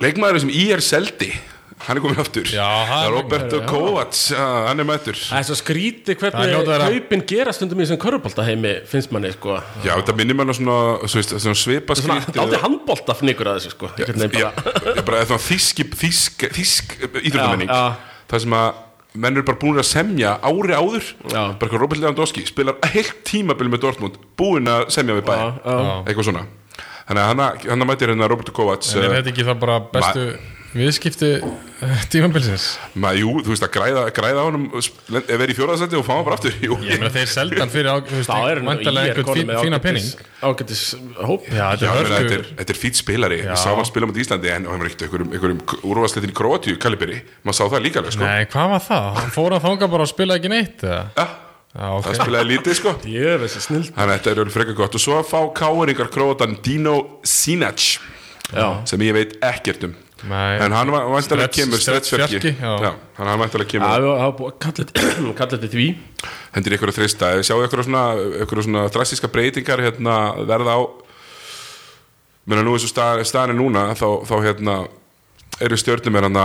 leikmaðurinn sem í er seldi, hann er komin aftur. Já, hann það er er Roberto leikmaður, já. Kovacs, já, hann er mættur. Það er svo skrítið Það hvernig hljóta að vera- kaupin gera stundum í þessum körubólta heimi finnst manni sko Já, þetta minnir mann á svona, svona, svona svipa Svona, skrítið. Dálítið handbólta fnýkur að þessu sko Einhvern veginn Já, bara já, bara svona þísk, þísk, þísk Já, íþróttamenning. já. Það sem að menn eru bara búin að semja ári áður. Já. Bara hvað Robert Lewandowski spilar heilt tímabil með Dortmund, búin að semja við bæði. Já, já. Eitthvað svona. Þannig að hann- hann mættir hérna Roberto Kovacs. en uh, er þetta ekki það bara bestu viðskipti eh, tímabilsins Maður, jú, þú veist að græða, græða á honum ef verið í fjóraðsætti og fá hann bara aftur jú. ég meina þeir seldan fyrir á- þú veist, Þá er væntanlega einhvern fín- fína pening Ágætis hóp Já, já, ég þetta er meina, þetta, er, hörku þetta er fýt spilari Ég sá hann spila mot Íslandi en hann var ekkert einhverjum, einhverjum úrvarsleitin í Kroatíu kaliberi maður sá það líka alveg sko. nei, hvað var það? hann fór að þanga bara og spila ekki neitt eða? ja, já, ok það spilaði lítið sko. Jöfis, snill þannig að þetta er alveg frekar gott og svo að fá káeringar Kroatan Dino Sinac Já. sem ég veit ekkert um Nei. en hann var vantilega Stretch- kemur stretch stretchfjörki fjarki, já. hann vantilega Já, kemur við hafa kallið þetta því hendur ykkur að þrista ef þið sjáu ykkur svona, ykkur svona drastíska breytingar hérna, verða á menna nú eins og stað, staðan er núna þá, þá hérna eru stjörnum er hann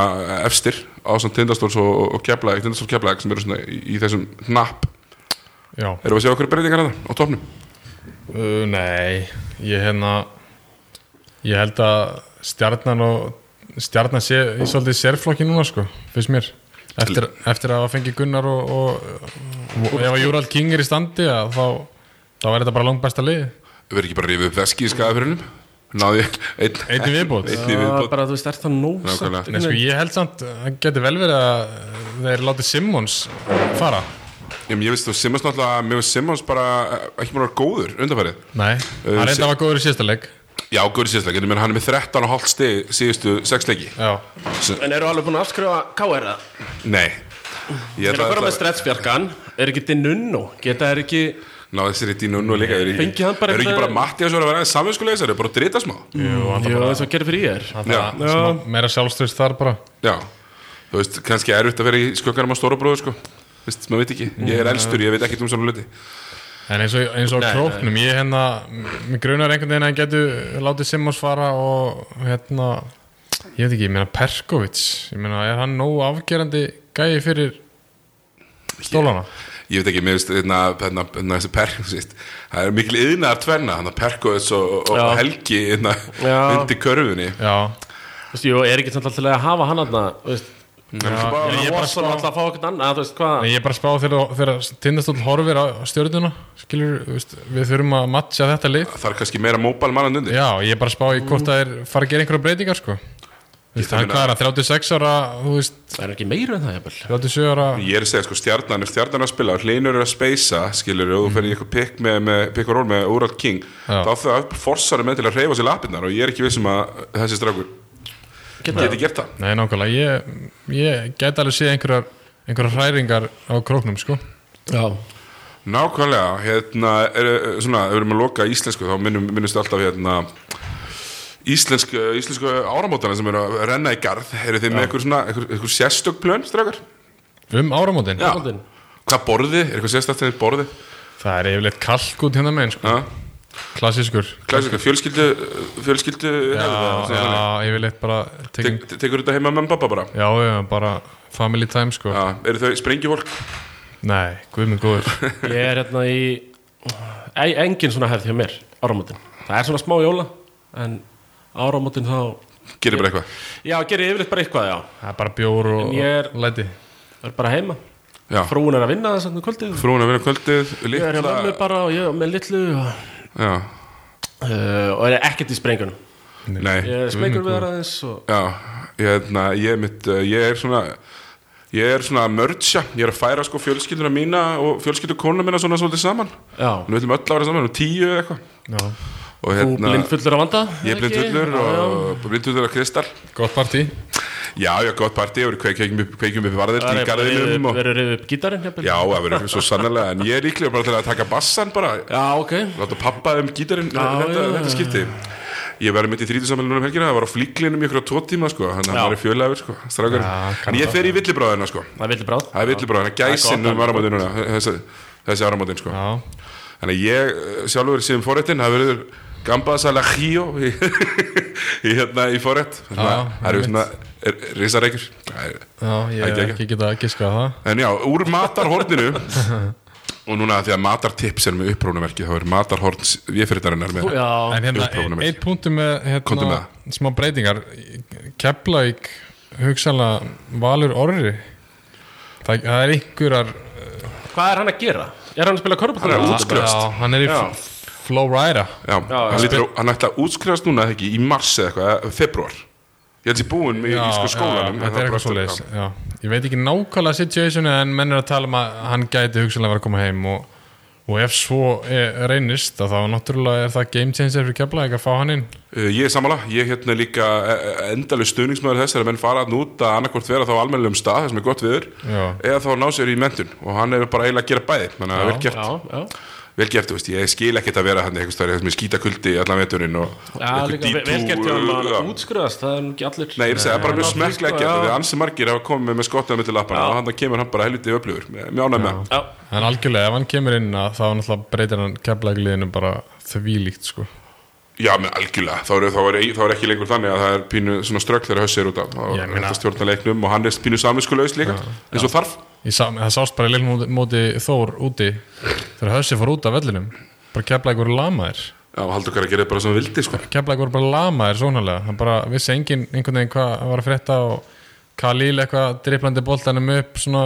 efstir á samt tindastóls og, og keflaðið, tindastóls keflaðið sem eru svona í, í þessum hnapp já, eru að sjá okkur breytingar hann á topnum Uh, nei, ég hérna ég held að stjarnan og stjarnan sé í svolítið sérflokki núna sko, fyrst mér eftir, eftir að hafa fengið Gunnar og, og, og ef að Júral King er í standi að þá, þá er þetta bara langt besta lið við erum ekki bara að rifið upp veski í skafurinnum náði einn Einn í viðbót. einn í Já, viðbót. bara þú veist, er það nóg samt Nákvæmlega. Nei, einhvern sko, veginn? ég held samt að það geti vel verið að þeir látið Simmons fara Ég, ég veist þú Simmons náttúrulega mér veist Simmons bara eh, ekki bara góður undanfærið Nei, Uh, hann reynda Sim- að var góður í síðasta leik já góður síðastlega en hann er með 13,5 stig síðustu 6 leiki Já, En eru alveg búin að afskrifa KR að nei ég ætla Þeir eru að fara að með stretsfjarkan Er ekki Dinunno Geta er ekki Náðu þessir í dínu nú líka Eru Fengi hann bara Mm. eru ekki eitthvað- bara Mattias að vera samvinskulegis Eru bara að drita smá Jú, hann Jó, þess að gera fyrir ég er Já. það er meira sjálfströðst þar bara Já Þú veist, kannski er út að vera í skjöggarum á stóra bróðu sko Þú veist, maður veit ekki Ég er elstur, ég veit ekki um svona hluti En eins og, eins og Nei, nei, króknum, ég hérna mér grunar einhvern veginn að hann getur látið Simmons fara og hérna ég veit ekki, ég meina Perkovic ég meina, er hann nógu afgerandi gæi fyrir stólana? Ég veit ekki, mér veist, hérna, hérna, hérna þessi perk þú veist, Það er mikil yðnaðar tvenna Þannig að perkoðis og, og, og Já. helgi hérna, Já. undir körfunni Já, Þú veist, jú, er ekki samt alltaf að hafa hann aðna Þú veist Já, Ég er bara svona alltaf að fá okkur annað Þú veist hvað en ég er bara að spá þegar, þegar tindastóll horfir á stjórnuna skilur, veist, við þurfum að matcha þetta lið Það er kannski meira móbal mannan undir Já, ég er bara að spá í hvort það er fara að gera einhverja breytingar sko Vist, hann meina- hvað er að 36 ára þú veist, Það er ekki meira en það, jafnvel 37 ára Ég er að segja, sko, stjarnan er stjarnan að spila Hlinur er að speysa, skilur og þú fyrir eitthvað pikk með, með pikk og ról með Úrald King Mm. Já. þá þau forsar með til að reyfa sér lapinnar og ég er ekki vissum að þessi strákur geti gert það Nei, nákvæmlega, ég, ég gæti alveg séð einhverjar, einhverjar hræringar á króknum, sko. Já Nákvæmlega, hérna er, svona, ef við erum að loka íslensku þá minnum, minnumst alltaf hérna íslensku, íslensku áramótana sem eru að renna í garð, eru þið með eitthvað svona eitthvað, eitthvað sérstök plön, strákar? Um áramótin. Já. Áramótin? Hvað borðið? Er eitthvað sérstakt þegar þið borðið? Það er yfirleitt kalk út hérna meginn, sko. Ja? Klassískur. Klassika, fjölskyldu fjölskyldu Já, hefð, já, svona. yfirleitt bara tekin... Tek- Tekur þetta heima með mamma og pappa bara? Já, já, bara family time, sko. Já, eru þau sprengjufólk? Nei, guð minn góður. Ég er hérna í Ei, Engin svona hefð hjá mér, áramótin Það er svona smá jóla En áramótin þá Gerir bara eitthvað Já, gerir yfirleitt bara eitthvað, já Það er bara bjór og En ég er- og læti. Það er bara heima Já, Frúin er að vinna þess að kvöldið frúin að vera kvöldið Ég er hjá Litla mömmu bara og ég er með litlu og, Já, uh, og er ekkert í sprengunum nei Ég er smengur við þar aðeins og Já, ég, hérna, ég, er mitt, uh, ég er svona Ég er svona að mördsja Ég er að færa sko fjölskylduna mína og fjölskyldu konuna mína svona svolítið saman Já, Nú viljum öll að vera saman, nú tíu eða eitthvað Já, Og þú hérna, blindfullur að vanda ég er ekki? blindfullur Já, já. og blindfullur af kristall gott partí. Já, já, gott partí, við kveikjum upp, kveikjum upp varðir í garðinum og... Verður reyðu upp gítarinn jafnvel? Já, það verður svo sannlega, en ég er líklega bara til að taka bassan bara, Já, ok láta pappa um gítarinn Já, þetta, já, þetta skipti. Ég verður mitt í þrítusamælunum um helgina, það var á flíklinum í ykkur á tvo tíma, sko, þannig að Já. það var í fjölaður, sko, strákar. en ég fer í villibráðina, sko, Það er vildi bráð það er villibráðina, gæsinn gott, um áramótin núna, þessi, þessi áramótin, sko. Já, Þannig að ég eh, sjálfur síðan forréttin, það verður gamba salajio í, í, hérna, í forrétt. Þannig að Já, það eru einmitt. svona er- risareikir. Það er- já, ég Ekki, hef ekki. ekki getað að giska á það En já, úr matarhorninu og núna því að matartips er með upprónumerki þá er matarhorns viðfyrirtarinnar með Já, En hérna, Jú, prófum ein- við. einn punktum með Komdu hérna, með smá breytingar Keflæk hugsanlega valur orri Það, það er einhverjar hvað er hann að gera? Er hann að spila korfball? Hann er að útskrifast. já, Hann er í Já. Flowrider Já, já. hann, lítur, á- hann ætla að útskrifast núna eða ekki í mars eða eitthvað, eða februar Ég held ég búinn með í sko skólanum en það Þetta er bara eitthvað aftur- svoleiðis já. Ég veit ekki nákvæmlega situationu en menn er að tala um að hann gæti hugsanlega verið að koma heim og, og ef svo er, reynist að þá náttúrulega er það game changer fyrir Keflæk að fá hann inn Uh, Ég er sammála, ég hérna er líka endalið stuðningsmöður þess þegar menn fara að núta annarkvort vera þá á almennilegum stað, þess sem er gott viður Já. eða þá ná sér í mentun og hann er bara eiginlega að gera bæði þannig að það er vel gert, Já, já vel gert, þú veist, ég skil ekkert að vera hann eitthvað stærri þess með skítakuldi allan veturinn og Já, einhver líka D2, vel- vel gert hjá hann já. að útskrifast Það er nú ekki allir Nei, ég vil segja, það er bara mjög Nei, smekklega gert sko, já. Þegar ansi margir hafa komið með skottaða mitt til lappana Já. og hann kemur hann bara helviti öflugur Mjög ánægð með hann. Já, En algjörlega, ef hann kemur inn að þá náttúrulega breytir hann keflagliðinu bara þvílíkt sko. Já, menn algjörlega, þá er, þá, er, þá er ekki lengur þannig að það er pínu svona strökk þegar hössi er út af og Ég er meina- þetta stjórna leiknum og hann er pínu samviskulaus líka eins og þarf Ég sá, það sást bara í leilum móti, móti Þór úti þegar Hössi fór út af vellinum bara keflaði voru lamaðir Já, haldur okkar að gera bara sem hann vildi sko. keflaði voru bara lamaðir svonalega hann bara vissi engin, einhvern veginn hvað hann var að frétta og Kalil eitthvað driplandi boltanum upp svona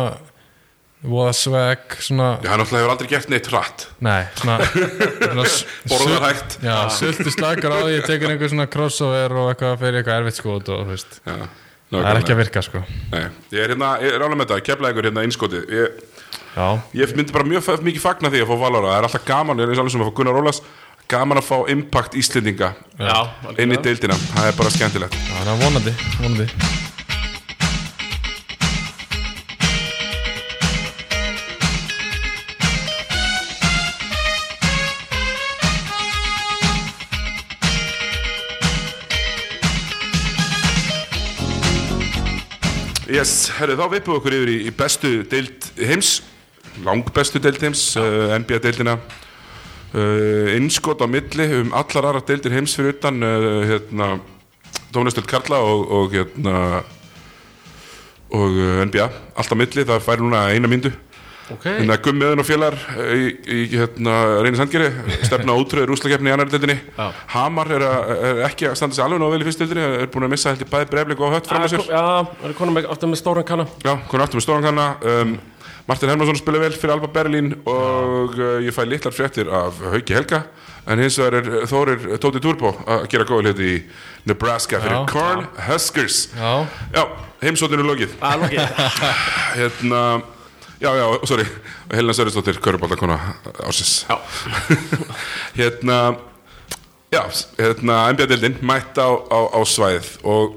voða sveg svona, Já, hann alltaf hefur aldrei gert neitt hratt nei svona, svona s- Borðar sul- hægt já, sulti slagur á því tekur einhver svona crossover og eitthvað fyrir eitthvað erfitt sko út og þú veist Já, það er ekki að virka sko Nei, ég er hérna, ég er ánægð með þetta, keflaði ykkur hérna innskotið ég, já, Ég myndi bara mjög f- mikið fagna því að fá Valora Það er alltaf gaman, eins og alveg sem að fá Gunnar Ólas Gaman að fá impact Íslendinga já inn í algjörlega. deildina, það er bara skemmtilegt það er vonandi, vonandi. Yes, herru, þá vippum við okkur yfir í, í bestu deild heims langbestu deild heims, uh, NBA deildina uh, innskot á milli um allar aðra deildir heims fyrir utan uh, hérna Dómnestöld Karla og, og hérna og uh, NBA allt á milli, það fær núna eina myndu Ok, hérna Gummiðun og félagar uh, í, í hérna Reyni Sandgeri stefna útröður úslakeppni í annar deildinni Já. Hamar er, að, er ekki að standa sér alveg nóg vel í fyrst deildinni, er búin að missa heldur bæði brefling og hött fram að sér Já, er konum ekki aftur með stóran kanna Já, hún aftur með stóran kanna um, Martin Hermansson spila vel fyrir Alba Berlín og uh, ég fæ litlar fréttir af Hauki Helga en hins vegar er uh, Þórir uh, Tóti Turbo að gera góð hluti í Nebraska fyrir Já. Corn Huskers Já. Já, heimsóttinu lokið Hérna Já, já, sorry, Helena Sörjustóttir, Körubaltakona ársins Já. Hérna Já, hérna, NBA-deildin mætt á, á, á svæðið og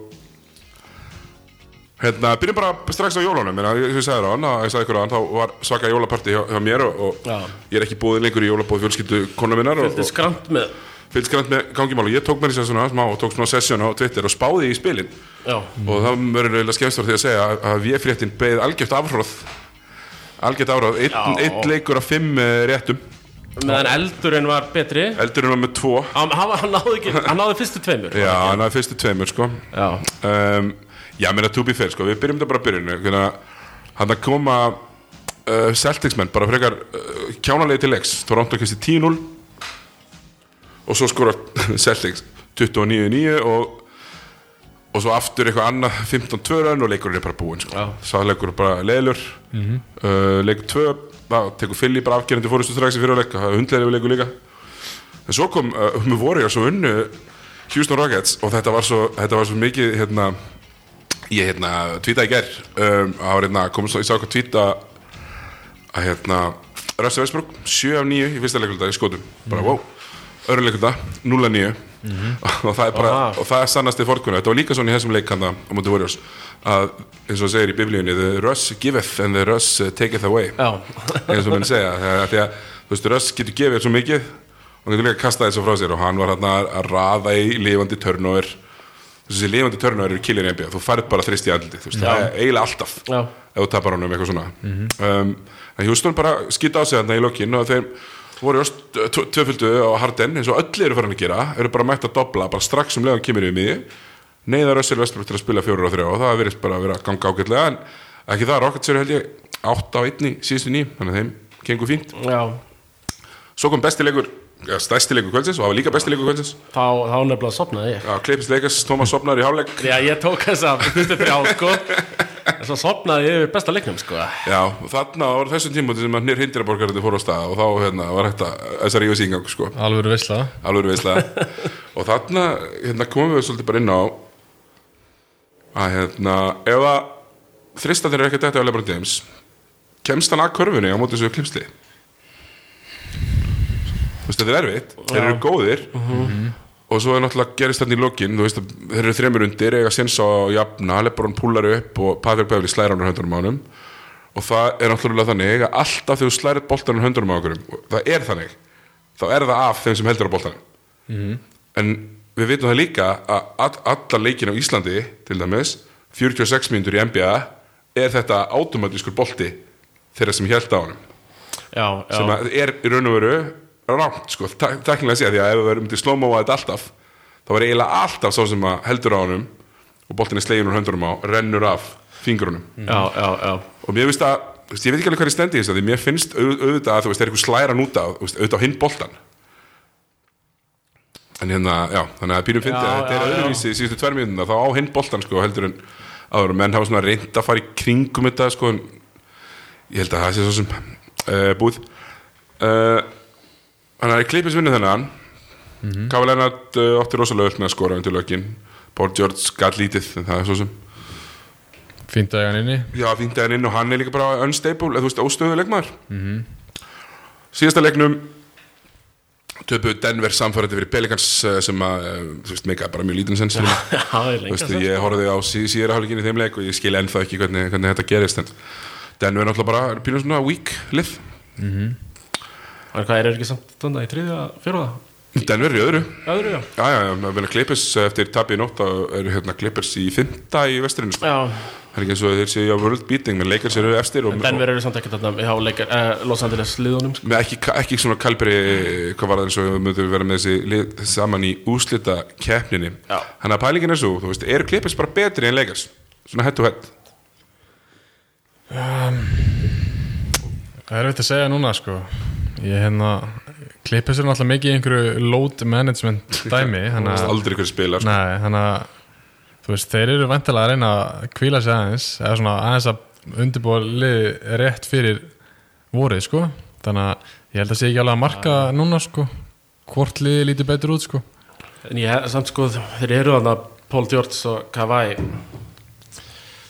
Hérna, byrjum bara strax á jólunum en ég, ég sagði þér á hann, ég sagði ykkur á hann þá var svaka jólaparti hjá, hjá mér og, og Já. ég er ekki búið lengur í jólabóð fjölskyldu konu minnar og, Þetta er og skramt með fylgst grann með gangimál og ég tók mér í sér svona smá og tók svona sessjón á Twitter og spáði í spilin Já, og það verður eiginlega skemmst fyrir því að segja að, að véfréttin beið algjört afhróð algjört afhróð, einn Já. einn leikur af fimm eh, réttum, meðan eldurinn var betri eldurinn var með tvo Hann, hann, hann, náði, ekki, hann náði fyrstu tveimur Já, hann hafði fyrstu tveimur sko Já. um, Já, meina to be fair sko Við byrjum þetta bara að byrjun Hann að koma uh, Celtics menn bara frekar uh, kjánalegi til leiks Toronto kristi 10-0 og svo skora Celtics 29-9 og og svo aftur eitthvað annað 15-2 raun og leikurinn er bara búinn sko. Já. Mhm. sáleikur er bara leilur uh, leikur 2, það tekur Fili bara afgerandi fórustu strax í fyrirleik það er hundleiri við leikur líka en svo kom uh, með Warriors og unnu Houston Rockets og þetta var svo, þetta var svo mikið hérna, ég hérna tvíta í gær um, að hérna, kom svo, ég sá eitthvað tvíta að hérna Mhm. Russell Westbrook, 7 af 9 í fyrsta leikuldag í skotum bara wow, öðru leikuldag 0 af 9 og það er bara, Aha. og það er sannast í fórkunna þetta var líka svona í þessum leikkanda á móti Warriors að eins og það segir í biblíunni the Russ giveth and the Russ uh, taketh away Já. eins og menn segja þegar, þegar, þú veist, Russ getur gefið þér svo mikið og hann getur líka að kasta þessu frá sér og hann var hann að að raða í lifandi törnóður þessi lifandi törnóður eru killir NBA þú færð bara þrist í andliti veist, það er eiginlega alltaf Já. ef þú tapar honum eitthvað svona um, en Houston bara skita á sig þarna í lokin og þeir voru just tvöföldu á Harden eins og öll eru farin að gera eru bara mætt að dobla, bara strax um leiðan kemur við miði neyða Russell Westbrook til að spila fjórar og þrjá og það verið bara að vera að ganga ágætlega en ekki það, Rockets eru held ég 8 á 1 í síðustu ný, þannig að þeim gengur fínt Já, svo kom bestilegur, stæstilegur kvöldsins og það var líka bestilegur kvöldsins þá, þá nefnilega sopnaði ég. Kleipist Leikas, Thomas Sopnar í hálfleik Já, ég tók þess að fyrstu þrjá, sko. En svo sopnaði ég yfir besta leiknum, sko. Já, og þarna var þessum tímutin sem að nýr hindiraborgarinn fór á stað og þá hérna, var þetta þessar yfir síngang sko. alveg veistla alveg veistlega og þarna hérna, komum við svolítið bara inn á að hérna ef að þristandir er ekki dætti á Lebron James kemst hann að körfunni á móti þessu klipsli þú veist þetta er erfitt þeir eru góðir og svo er náttúrulega gerist þarna í lokin þú veist að þeir eru þremur undir eiga sinns á jafna, Lebron púlar upp og Patrick Beverly slæra hann á höndunum á honum og það er náttúrulega þannig að alltaf þegar þú slærir boltanum á höndunum á okkurum það er þannig, þá er það af þeim sem heldur á boltanum en við vitum það líka að all, alla leikin á Íslandi til dæmis 46 mínútur í NBA er þetta automatískur bolti þeirra sem held á honum Já, já. sem að er í raun og veru rámt sko, teknilega séð því að ef við erum til slómóa þetta alltaf þá er eiginlega alltaf sá sem að heldur á honum og boltin er slegin úr höndunum á rennur af fingrunum Já, já, já. og mér finnst að, þú veist, ég veit ekki alveg hvað ég stendi í þessu því mér finnst auð, auðvitað að þú veist, það er eitthvað slæran út af, þú veist, auðvitað á hinn boltan en hérna, já, þannig að pínum fyndi Já, að þetta er já, já. öðruvísi í síðustu tvær mínúna þá á hinn boltan, sko, heldur en áður menn hafa svona reynd að fara í kringum þetta, sko, en ég held að það sé svo sem uh, búið uh, Þannig að klippis vinnu þennan mm Mhm. -hmm. Kafa Lennart uh, átti rosalega öll með að skora undir lökin Paul George galt lítið, en það er svo sem fínt að eiga hann inni Já, fínt að hann inn og hann er líka bara unstable, eða þú veist, óstöðu leikmaður Síðasta leiknum töpuðu Denver samfærandi fyrir Pelicans eh, sem að, eh, þú veist, meika bara mjög lítinn sens fyrir mig. Já, það er Þú veist, lengi. ég horfði á sí, síðara hálfleikin í þeim leik og ég skil ennþá ekki hvernig, hvernig þetta gerist en Denver er náttúrulega bara pínum svona weak lið En hvað er ekki samt þannig í þriðja, fjóruða? Denver er í öðru Öðru, já. Já, já, já, menna Clippers eh, eftir tappi í nótt þá eru hérna Clippers í fymta í vestrinu sko. Já, Það er ekki eins og þeir séu á world beating menn leikar sér efstir og, Denver eru samt ekki þarna, já, leikar, eh, Los Angeles liðunum, sko. með ekki, ekki svona kalberi hvað var það eins og við mötum vera með þessi lið saman í úslita keppninni Já. þannig að pælingin er svo, þú veist, eru klippis bara betri en leikars, svona hett og hett Ehm, Það er veit að segja núna sko Ég hérna Klippis er náttúrulega mikið í einhverju load management dæmi Þannig að aldrei hverju sko. spilar, Nei, þannig að Þú veist, þeir eru vantilega að reyna að kvíla sig aðeins Eða svona aðeins að undirbúa liði rétt fyrir vorið sko Þannig að ég held að sé ekki alveg að marka Ah. núna sko Hvort liði lítið betur út sko En ég, samt sko, þeir eru þarna Paul George og Kawhi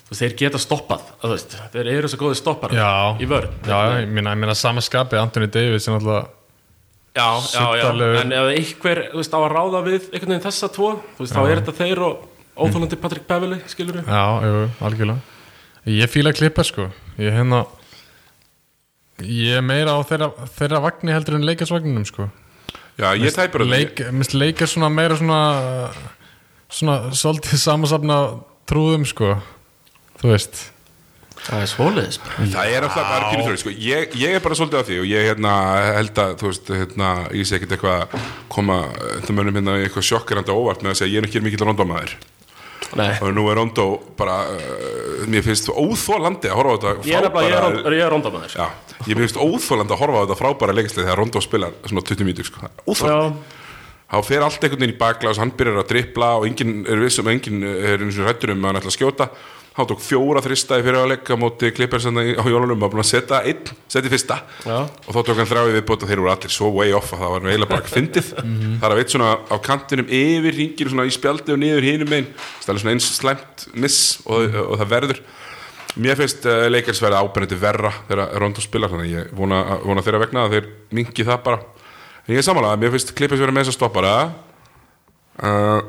Þú veist, þeir geta stoppað þú veist, þeir eru svo góði stoppar Já. í vörn Já, ég minna, ég minna samaskapi Anthony Davis er náttúrulega já, já, já. Suddalegur. en ef einhver þú veist, á að ráða við einhvern veginn þessa tvo þú veist, þá er þetta þeir og óþólandi Patrick Beverly, skilur við Já, jú, algjörlega Ég fíla að klippa sko Ég hérna Ég er meira á þeirra, þeirra vagni heldur en leikarsvagninum sko já, ég tæpur að Leik, Mest leikar svona meira svona Svona svolítið samasafna trúðum sko Þú veist það er svóliðis bara. Það er alltaf bara pínu þrjóð sko. ég, ég er bara svolítið á því og ég hérna, held að þú veist, hérna, ég sé ekkert eitthvað að koma eh, það mönnum hérna í eitthvað sjokkarandi á óvart með að segja ég er ekki mikill rondómaður Nei. og nú er rondó bara uh, mér finnst óþólandi að horfa á þetta ég er nefnilega, ég er, frábæra- rond- ég er rondamæður Já, ég finnst óþólandi að horfa á þetta frábæra leikislega þegar Rondo spilar svona 20 mínútur sko. já, Óþólandi. Há fer allt einhvern veginn í baklás, hann byrjar að drippla og enginn er vissum, enginn er eins og rættur um að hann ætla að skjóta. Hann tók fjóra þrista í fyrirháleika móti Clippers þarna í- á jólunum, var búin að setja einn, setja í fyrsta Já. og þá tók hann þrái viðbót og þeir voru allir svo way off að það var nú eiginlega bara fyndið. það er að veit svona á kantinum yfir ringinu svona í spjaldi og niður hinum einn, það er svona eins slæmt miss og, og það verður. Mér finnst uh, leikars verða ábyrjandi verra þegar Rondo spilar þannig að ég vona, vona þeirra vegna að þeir mingi það bara en ég er samanlega, mér finnst klippis verða með þess að stoppara uh,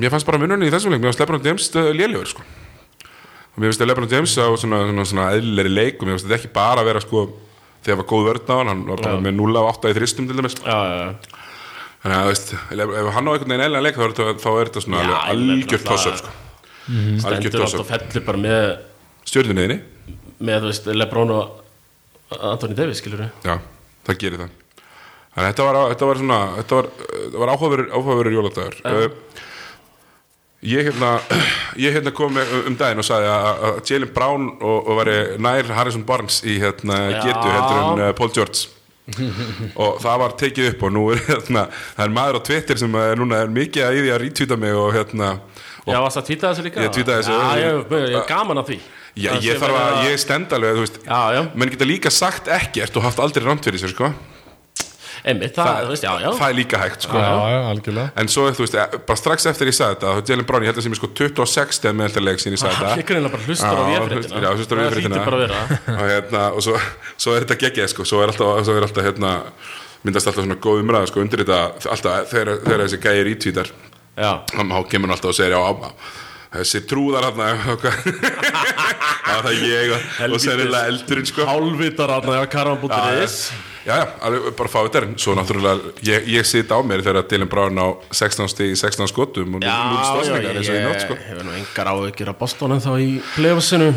mér fannst bara mununni í þessum leik mér fannst Lebron James uh, lélugur sko. og mér finnst að Lebron James á svona, svona, svona eðlilegri leik og mér finnst þetta ekki bara að vera sko, þegar var góð vörn á hann hann var bara Já. með 0 af 8 í þristum til dæmis já, já, þannig að þú veist, ef ef hann á einhvern veginn eðlilega leik þá er þetta- þá er þetta svona Já, alveg ég meina, algjört náttúrulega- Mhm. tossur sko. algjör stendur allt tossur og fellur bara með, stjórnunniðinni, með þú veist, Lebron og Anthony Davis, skilur við já, það gerir það þannig að þetta var, þetta var svona þetta var, þetta var áhugaverur, áhugaverur jóladagur uh, ég hérna ég hérna kom með- um daginn og sagði að að Jalen Brown og, og væri nær Harrison Barnes í hérna Já. getu heldur en uh, Paul George og það var tekið upp og nú er hérna það er maður á Twitter sem er núna er mikið að í því að retweeta mig og hérna og Já, varst að tvíta þessu líka? Ég tweetaði þessu. Já, ég, ég, ég gaman að því Já, Það ég sé þarf að, verið ég stend alveg, þú veist Já, já, menn geta líka sagt ekkert og haft aldrei rámt fyrir sér, sko einmitt, það, þú veist, já, já það er líka hægt, sko Já, já, algjörlega en svo, þú veist, eh, bara strax eftir ég sagði þetta þá Jalen Brown, ég held að sem ég sko 26 stegar með alltaf leik sín ég sagði Ég þetta greinlega Ah, bara hlustar á Já, véfréttina já, hlustar á véfréttina. Það hlýtur bara að vera og hérna, og svo, svo er þetta geggið, sko svo er alltaf, svo er alltaf, hérna myndast alltaf svona góð umræða, sko, undir þetta alltaf, þegar, þegar þessi gæir ítvítar Já, þá þá kemur hann alltaf og segir já, á- á- þessi trúðar hann það er ég og, og sennilega eldurinn, sko hálfvitar aðna, já, karvan.is Já, já, alveg bara fáið þær Svo náttúrulega, ég, ég sit á mér þegar Dylan Brown á 16 stig í 16 skotum og 0 stóðsningar eins og ég nátt sko ég hefur nú engar áhyggjur af Boston en þá í playoffsinu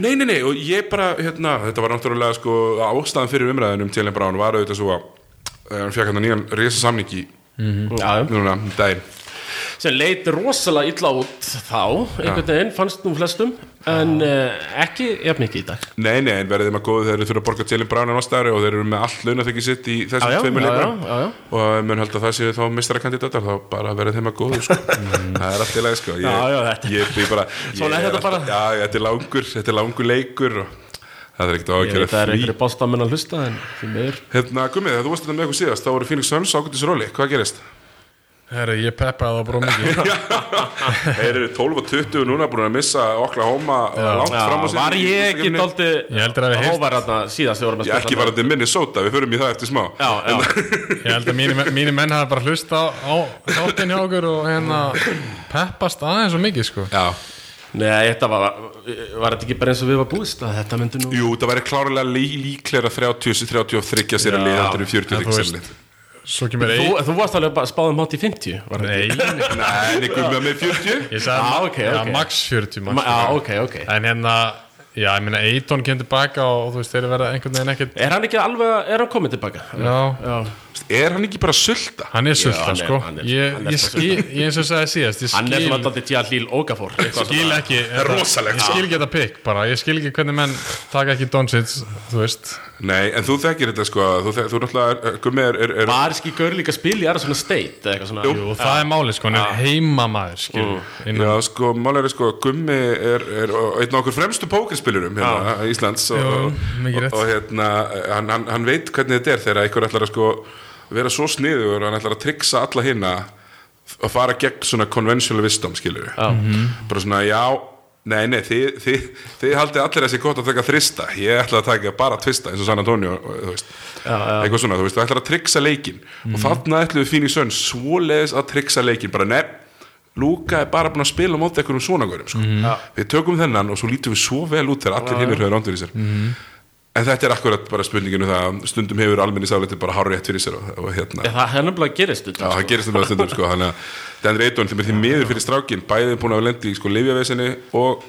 Nei, nei, nei, og ég bara, hérna, þetta var náttúrulega sko ástæðan fyrir umræðinum Dylan Brown var auðvitað svo að eh, hann fekk hann nýjan risa samningi Já, núna, um daginn sem leit rosalega illa út þá, einhvern veginn, fannst nú flestum en uh, ekki, jafn ekki í dag Nei, nei, en verðið maður góðu þeir eru fyrir að borga Dylan Brown á nástaðari og þeir eru með allt launathyggi sitt í Já, já, þessum tveimur já, leikunum já, já. og mun held að það séu þá mistarakandidatar þá bara verðið þeim að góðu sko. það er allt í lagi sko. ég, Já, já, þetta- ég, ég bara, Svona er ég þetta bara. alltaf- já, þetta er langur, þetta er langur leikur og það er ekkert Ég veit að ákjörð það er því einhverju bástamenn að hlusta en því meður hérna, Gummið, þegar þú varst þetta með okkur síðast þá voru Phoenix Suns ákvæmtis róli, hvað gerist? Herra, ég peppaði það bara mikið þeir eru 12 og 20 núna búin að missa Oklahoma langt fram á sig Var í ég ekki úrslitakeppninni. dálti Ég heldur að við heyrt- Hóvar aðna síðast þegar vorum að Ég ekki varandi Minnesota, við förum í það eftir smá Já, já, Ég held að mínir mínu menn hafa bara hlusta á, á þáttin hjá okkur og hérna peppast aðeins og mikið sko já. nei, þetta var Var þetta ekki bara eins og við var búist að þetta myndi nú Jú, það væri klárlega lí, líklega 30-33 sér að Já. lið heldur en En þú 43 sér veist- að lið Svo kemur Þú, ein þú varst alveg bara spáðum hátt í 50 var þetta Nei, nei, Nei, en ykkur með með 40 ég sagði Já, Ah, ok, ja, ok. max 40 max Ma- 40. Já, ok, ok En hérna, já, ég meina Eiton kemur tilbaka og þú veist, þeir verða einhvern veginn ekkert Er hann ekki alveg, er hann komið tilbaka? Já, Já, Er hann ekki bara sulta? hann er sulta hann er- sko hann er- Ég, hann ég er bara skil, ég eins og sagði síðast Ég hann er skil, svona dálti til að hlýl ógafór skil ekki rosalegt, Ég sko. skil ekki þetta pikk bara Ég skil ekki hvernig menn taka ekki Doncic, þú veist Nei, en þú þekkir þetta sko Þú, þek, þú náttúrulega, er- Gummi er, er, er Var ekki gaur líka að spila í aðra svona state eða eitthvað svona Jú, og það er málið sko, hann er heimamaður skil Mm. Innan- Já, sko, mál er sko Gummi er, er einn af okkur fremstu pókerspilurum hérna í Íslands og, Jú, og, mikið rétt. og hérna, hann, hann, hann veit hvernig þetta er þegar einhver ætlar að sko vera svo sniður, hann ætlar að triksa alla hinna að fara gegn svona conventional wisdom, skilur við bara svona, já, nei, nei þið, þið, þið haldið allir þessi gott að taka þrista ég ætla að taka bara tvista eins og San Antonio, eh, þú veist eitthvað svona, þú veist, þú ætlar að triksa leikin og þarna ætlum við Fíni Sönn svoleiðis að triksa leikin, bara nefn Lúka er bara búin að spila á móti einhverjum svona gaurum, sko. við tökum þennan og svo lítum við svo vel út þegar allir hinnir höfður ándur í sér en þetta er akkurat bara spurninginu það að stundum hefur almenningsafleiti bara hár rétt fyrir sér og, og hérna Ég, Það er nefnilega gerist þetta Já, það gerist það bara stundum sko, þannig að Dendri Eitón sem er því miður fyrir strákin, bæðið búin að lendi í sko lifjavesinni og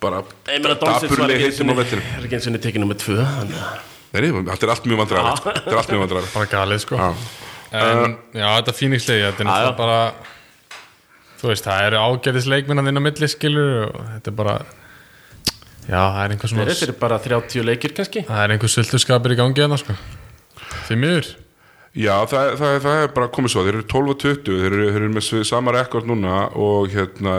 bara Nei, ég meina Donsins var dapurlega ekki heitum á einu sinni- vettinu. er ekki eins og niður tekið nummið tvö þannig að- Nei, nei, þetta er allt mjög vandræðar, sko. þetta er allt mjög vandræðar. bara galið sko en, já, þetta fíningslegi þetta er Já, já. náttúrulega bara þú veist, það eru ágæðis leikmennan inn á milli skilur og þetta er bara já, það er einhver svona Þetta er bara 30 leikir kannski það er einhver sultuskapur í gangi þarna sko því miður Já, það, það, það er bara komið svo, þeir eru 12 og 20, þeir eru, þeir eru með svi- sama rekord núna og hérna,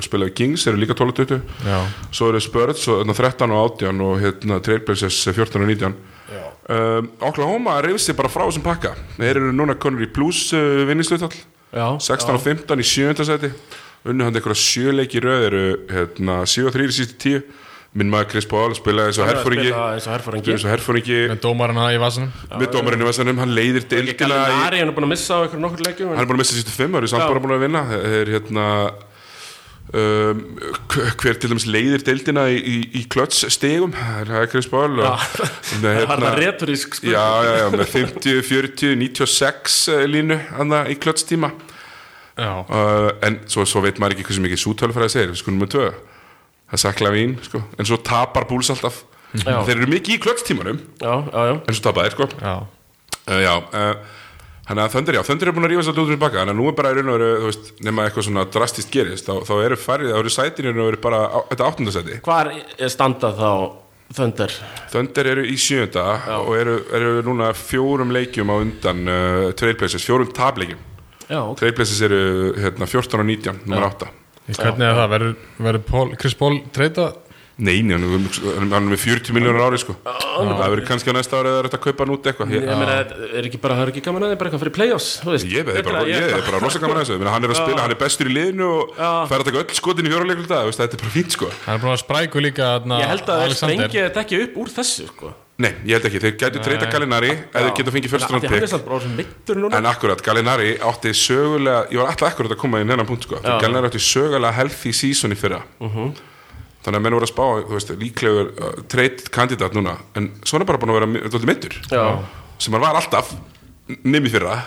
og spilaði Kings, þeir eru líka 12 og 20, já, svo eru Spurs og, hérna, 13 og 18 og hérna, Trailblazers 14 og 19. Um, Oklahoma reyfði sig bara frá þessum pakka, þeir eru núna konur í plus uh, vinningslutall, Já, 16 og 15 í 7. seti, unnu hann einhverja sjöleiki röð, þeir eru hérna, 7 og 3 í sístu 10, minn maður Chris Paul spilaði eins og Hann er að herfóringi spila eins og herforingi. eins og herfóringi Með dómarinn aða í vasanum með dómarinn í vassanum, hann leiðir deildina í, Gallinari hann er búin að missa á einhverjum nokkur leikjum hann en er búin að missa sístu fimm ári samt Já. bara búin að vinna er hérna um, hver hver til dæmis leiðir deildina í, í, í klöts stegum það er Chris Paul og, Já. Nei, það var hérna- það retorísk spurning já, já, já, með 50, 40, 96 eh, línu anna, í klötstíma Já, uh, en svo, svo veit maður ekki hversu mikið sútölfræði segir, sko nummer tvö það sakla vín, sko, en svo tapar búls alltaf, Já. þeir eru mikið í klötstímanum já, já, já. en svo tapaði, sko já, Uh, já, uh, hann að Thunder, já, Thunder er búin að rífa sér lútur í baka, þannig að nú er bara í raun og veru, þú veist, nema eitthvað svona drastist gerist, þá, þá eru færið, þá eru sætin í raun og veru bara á, þetta áttundasæti. hvar er standað þá Thunder Thunder eru í sjönda og eru, eru núna fjórum leikjum á undan uh, trailblazers, fjórum tableikjum. já, ok Trailblazers eru hérna 14 og 19, nummer 8. Í hvernig er það? Verður, verður Paul, Chris Paul treyta? Nei, nei, hann er hann er með 40 miljónur ári, sko. Það verður kannski á næsta ári að það er hægt að kaupa hann út eitthvað. Ég meina, er ekki bara, það er ekki gaman að þið bara eitthvað fyrir playoffs, þú veist Ég veið bara, ég er bara rosa gaman að þessu Ég meina, Hann er að spila, hann er bestur í liðinu og fær að taka öll skotin í fjóruleikum dag Þetta er bara fínt sko Hann er búin að spræku líka þarna, Ég held að þeir Alexander. sprengja þetta ekki upp úr þessu, sko Nei, ég held ekki, þeir gætu treyta Gallinari eða þeir geta fengið Þannig fyrstrand að Hann er pick samt bara orðinn meiddur núna En akkurat, Gallinari átti sögulega Ég var alltaf akkurat að koma inn hennan punkt sko Þegar Gallinari átti sögulega healthy season í fyrra Mhm. Þannig að menn voru að spá, þú veist, líklegur uh, treyt kandidat núna En svona bara búin að vera dóldi meittur Já, Sem hann var alltaf, nemi fyrra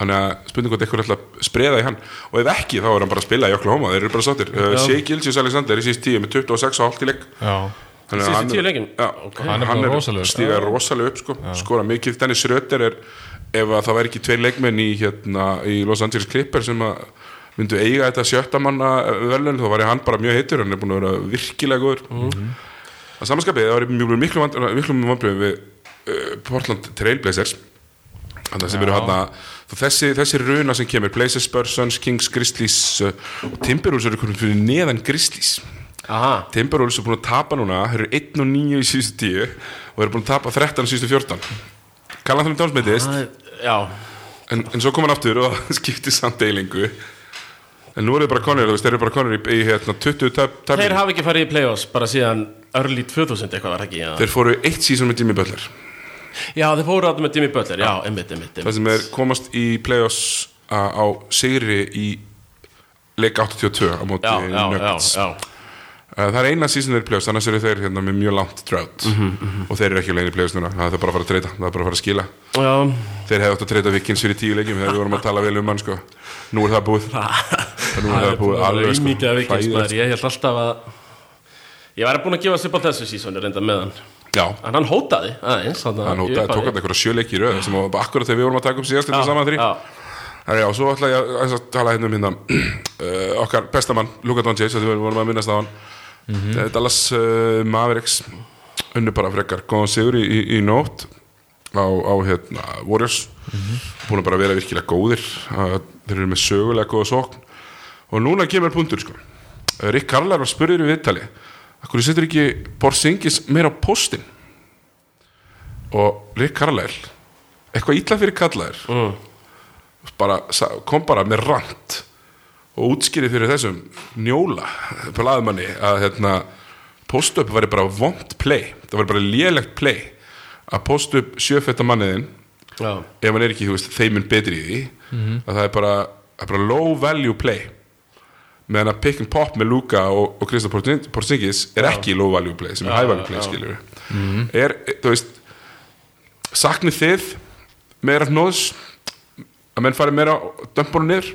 Þannig að spurning hvort eitthvað ætla að spreða í hann Og ef ekki, þá er hann bara að spila í Oklahoma Þeir eru bara sáttir uh, Shea Gilgis Alexander í síst tíu með 26 og hálft í leik Já, Þannig Síðustu að hann- tíu leikin? Já, Ok. hann er, bara er rosalegur. stíga rosalega upp sko, skora mikið, Dennis Röder er ef að það væri ekki tveir leikmenn í, hérna, í Los Angeles Clippers sem að myndu eiga þetta sjöttamanna velun þá væri hann bara mjög heitur, hann er búin að vera virkilega góður mm -hmm. að samanskapið, það væri mjög miklu vand- miklu vandbröðum við uh, Portland Trailblazers Þannig að sem eru hann þessi, þessi runa sem kemur, Blazers, Spurs, Suns, Kings, Grizzlies uh, og Timberwolves eru komin fyrir neðan Grizzlies aha Timberwolves er búin að tapa núna þeir eru 1 og 9 í síðustu 10 og eru búin að tapa 13 í síðustu 14 Kallan þannig dánsmyndist Það- Já, en, en svo kom hann aftur og skipti samt eilingu en nú eru þeir bara konir þú veist, þeir eru bara konir í, í hérna, 20 tæp, tæp, þeir hafa ekki farið í playoffs bara síðan early 2000 eitthvað var það ekki já. þeir fóru eitt síðan með Jimmy Butler já, þeir fóru átum með Jimmy Butler, já, einmitt, einmitt, það einmitt. sem er komast í play-offs á, á sigri í leik 82 á móti Já, já, já, Nuggets já Uh, Það er eina season þeir í play-offs, annars eru þeir hérna, með mjög langt drought Mhm, og þeir eru ekki lengi í play-offs núna, það er bara að fara að treyta, það er bara að fara að skila Já, Þeir hefðu átt að treyta vikins fyrir tíu leikjum þegar við vorum að tala vel um hann sko. Nú er það búið Nú er það búið alveg sko. Ímikið af vikings Hræðilegt. maður, ég held alltaf að Ég væri búin að gefa sér upp á þessu sísoni reynda með hann Já, En hann hótaði aðeins hann hótaði, tók hann eitthvað sjöleiki í röð sem var bara akkurat þegar við vorum að taka upp síðast þetta saman þrý Þannig já, svo ætla ég að- að tala hérna um hérna uh, okkar bestamann, Luka Doncic þegar við vorum að minnast á hann Eh, Dallas uh, Mavericks unnu bara frekar góðan sigur í, í, í nótt á, á hérna, Warriors búin að bara vera virkilega góðir uh, þeir eru með sögulega góða sókn og núna kemur punktur sko Eh, Rick Karlar var spurður í viðtali Akkur setur ekki Porzingis meira á postin og Rick Karlar eitthvað ítla fyrir kallar Mm. bara, sa- kom bara með rant og útskýrið fyrir þessum njóla blaðmanni að hérna, post-up væri bara vond play, það væri bara lélegt play að post-up sjöfetta manniðin Já, ef hann er ekki, þú veist, þeimin betri í því Mhm. að það er bara, það er bara low value play meðan að pick and pop með Luka og, og Kristaf Porzingis er ekki low value play sem er high value play, skilur Mhm. er, þú veist saknið þið meira hnóðs að menn fari meira dömpunum niður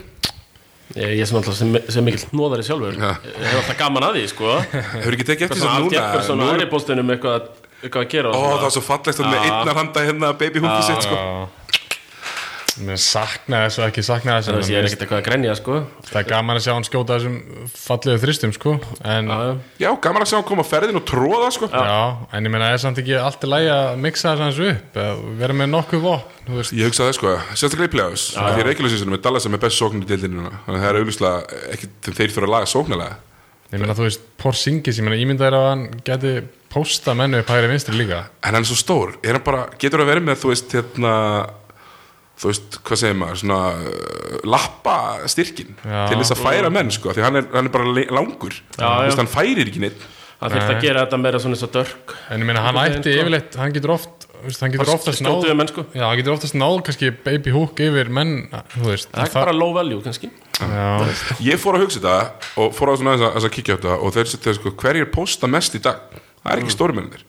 ég, ég sem alltaf sem, sem mikill hnóðari sjálfur Já. Ég hef alltaf gaman að því, sko hefur ekki tekið eftir Svona allt þess jafnir að svona núna aðri bólstunum eitthvað, að- eitthvað að gera og ó, svona. það er svo fallegt að með einnar handa hérna babyhúki sitt, sko já. Mér sakna þessu, ekki sakna þessu Þú veist, en ég er mér- ekkert eitthvað að grenja, sko Það er gaman að sjá hann skjóta þessum fallegu þristum sko En, Já, já, já. já, gaman að sjá hann koma á ferðin og tróða, sko en ég meina það er samt ekki allt í lagi að mixa þessu hans upp eða Vera með nokkuð vopn, þú veist Ég hugsa það sko, sérstaklega í play-offs að því reykjulegsísunum er Dallas sem er best sókn í deildinu núna. þannig að það er auðvitað ekki þeir þurfa að laga sóknalega Ég meina þú veist, Porzingis, ég meina ímynda er að hann geti posta mennu upp hægri vinstri líka en hann er svo stór, er hann bara, getur að vera með þú veist, hérna þú veist, hvað segir maður, svona uh, lappa styrkin Já. til þess að færa menn sko, því hann er, hann er bara le- langur Já, Þú veist, já. hann færir ekki neitt hann þurfti Nei. að gera þetta meira svona eins og dörk En ég meina, hann ætti Einhvern veginn, sko. yfirleitt, hann getur oft þú veist, hann getur oftast náð skjótuðu menn sko Já, hann getur oftast náð kannski baby hook yfir menn, þú veist það er bara low value kannski Já, Ég fór að hugsa þetta og fór að, svona aðeins að, aðeins að kíkja á þetta og þeir setja sko, hverjir posta mest í dag það er Mm. ekki stórmennir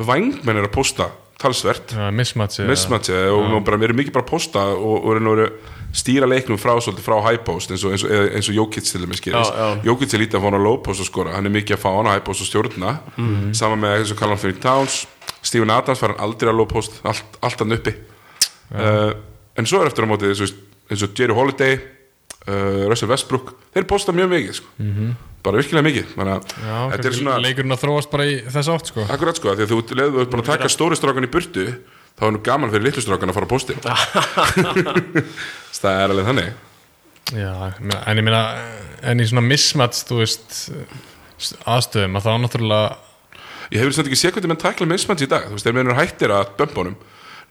vængmenn er að posta talsvert já, mismatch eða- mismatchið og nú bara, við erum mikið bara að posta og, og erum að stýra leiknum frá svolítið frá high post eins og, eins og, eða eins og Jókits til þeim Já, já. skilist Jókits er lítið að fá hann á low post að skora hann er mikið að fá hann á high post og stjórna Mhm. saman með þessu kallan fyrir Towns Steven Adams var hann aldrei á low post allt, allt hann uppi uh, en svo er eftir á móti eins og, eins og Jerry Holiday uh, Russell Westbrook þeir posta mjög mikið sko. bara virkilega mikið Þannig að Mhm. Já, þetta er kannski svona leikurinn að þróast bara í þess átt, sko Akkurat sko, af því að þú leður bara að taka stóri strákan í burtu þá er nú gaman fyrir litlu strákan að fara á posti Það er alveg þannig Já, ég meina- en ég meina en í svona mismatch, þú veist aðstöðum, að þá náttúrulega Ég hefur samt ekki séð hvernig menn tækla mismatch í dag þú veist, þeir mennur hættir að bömbunum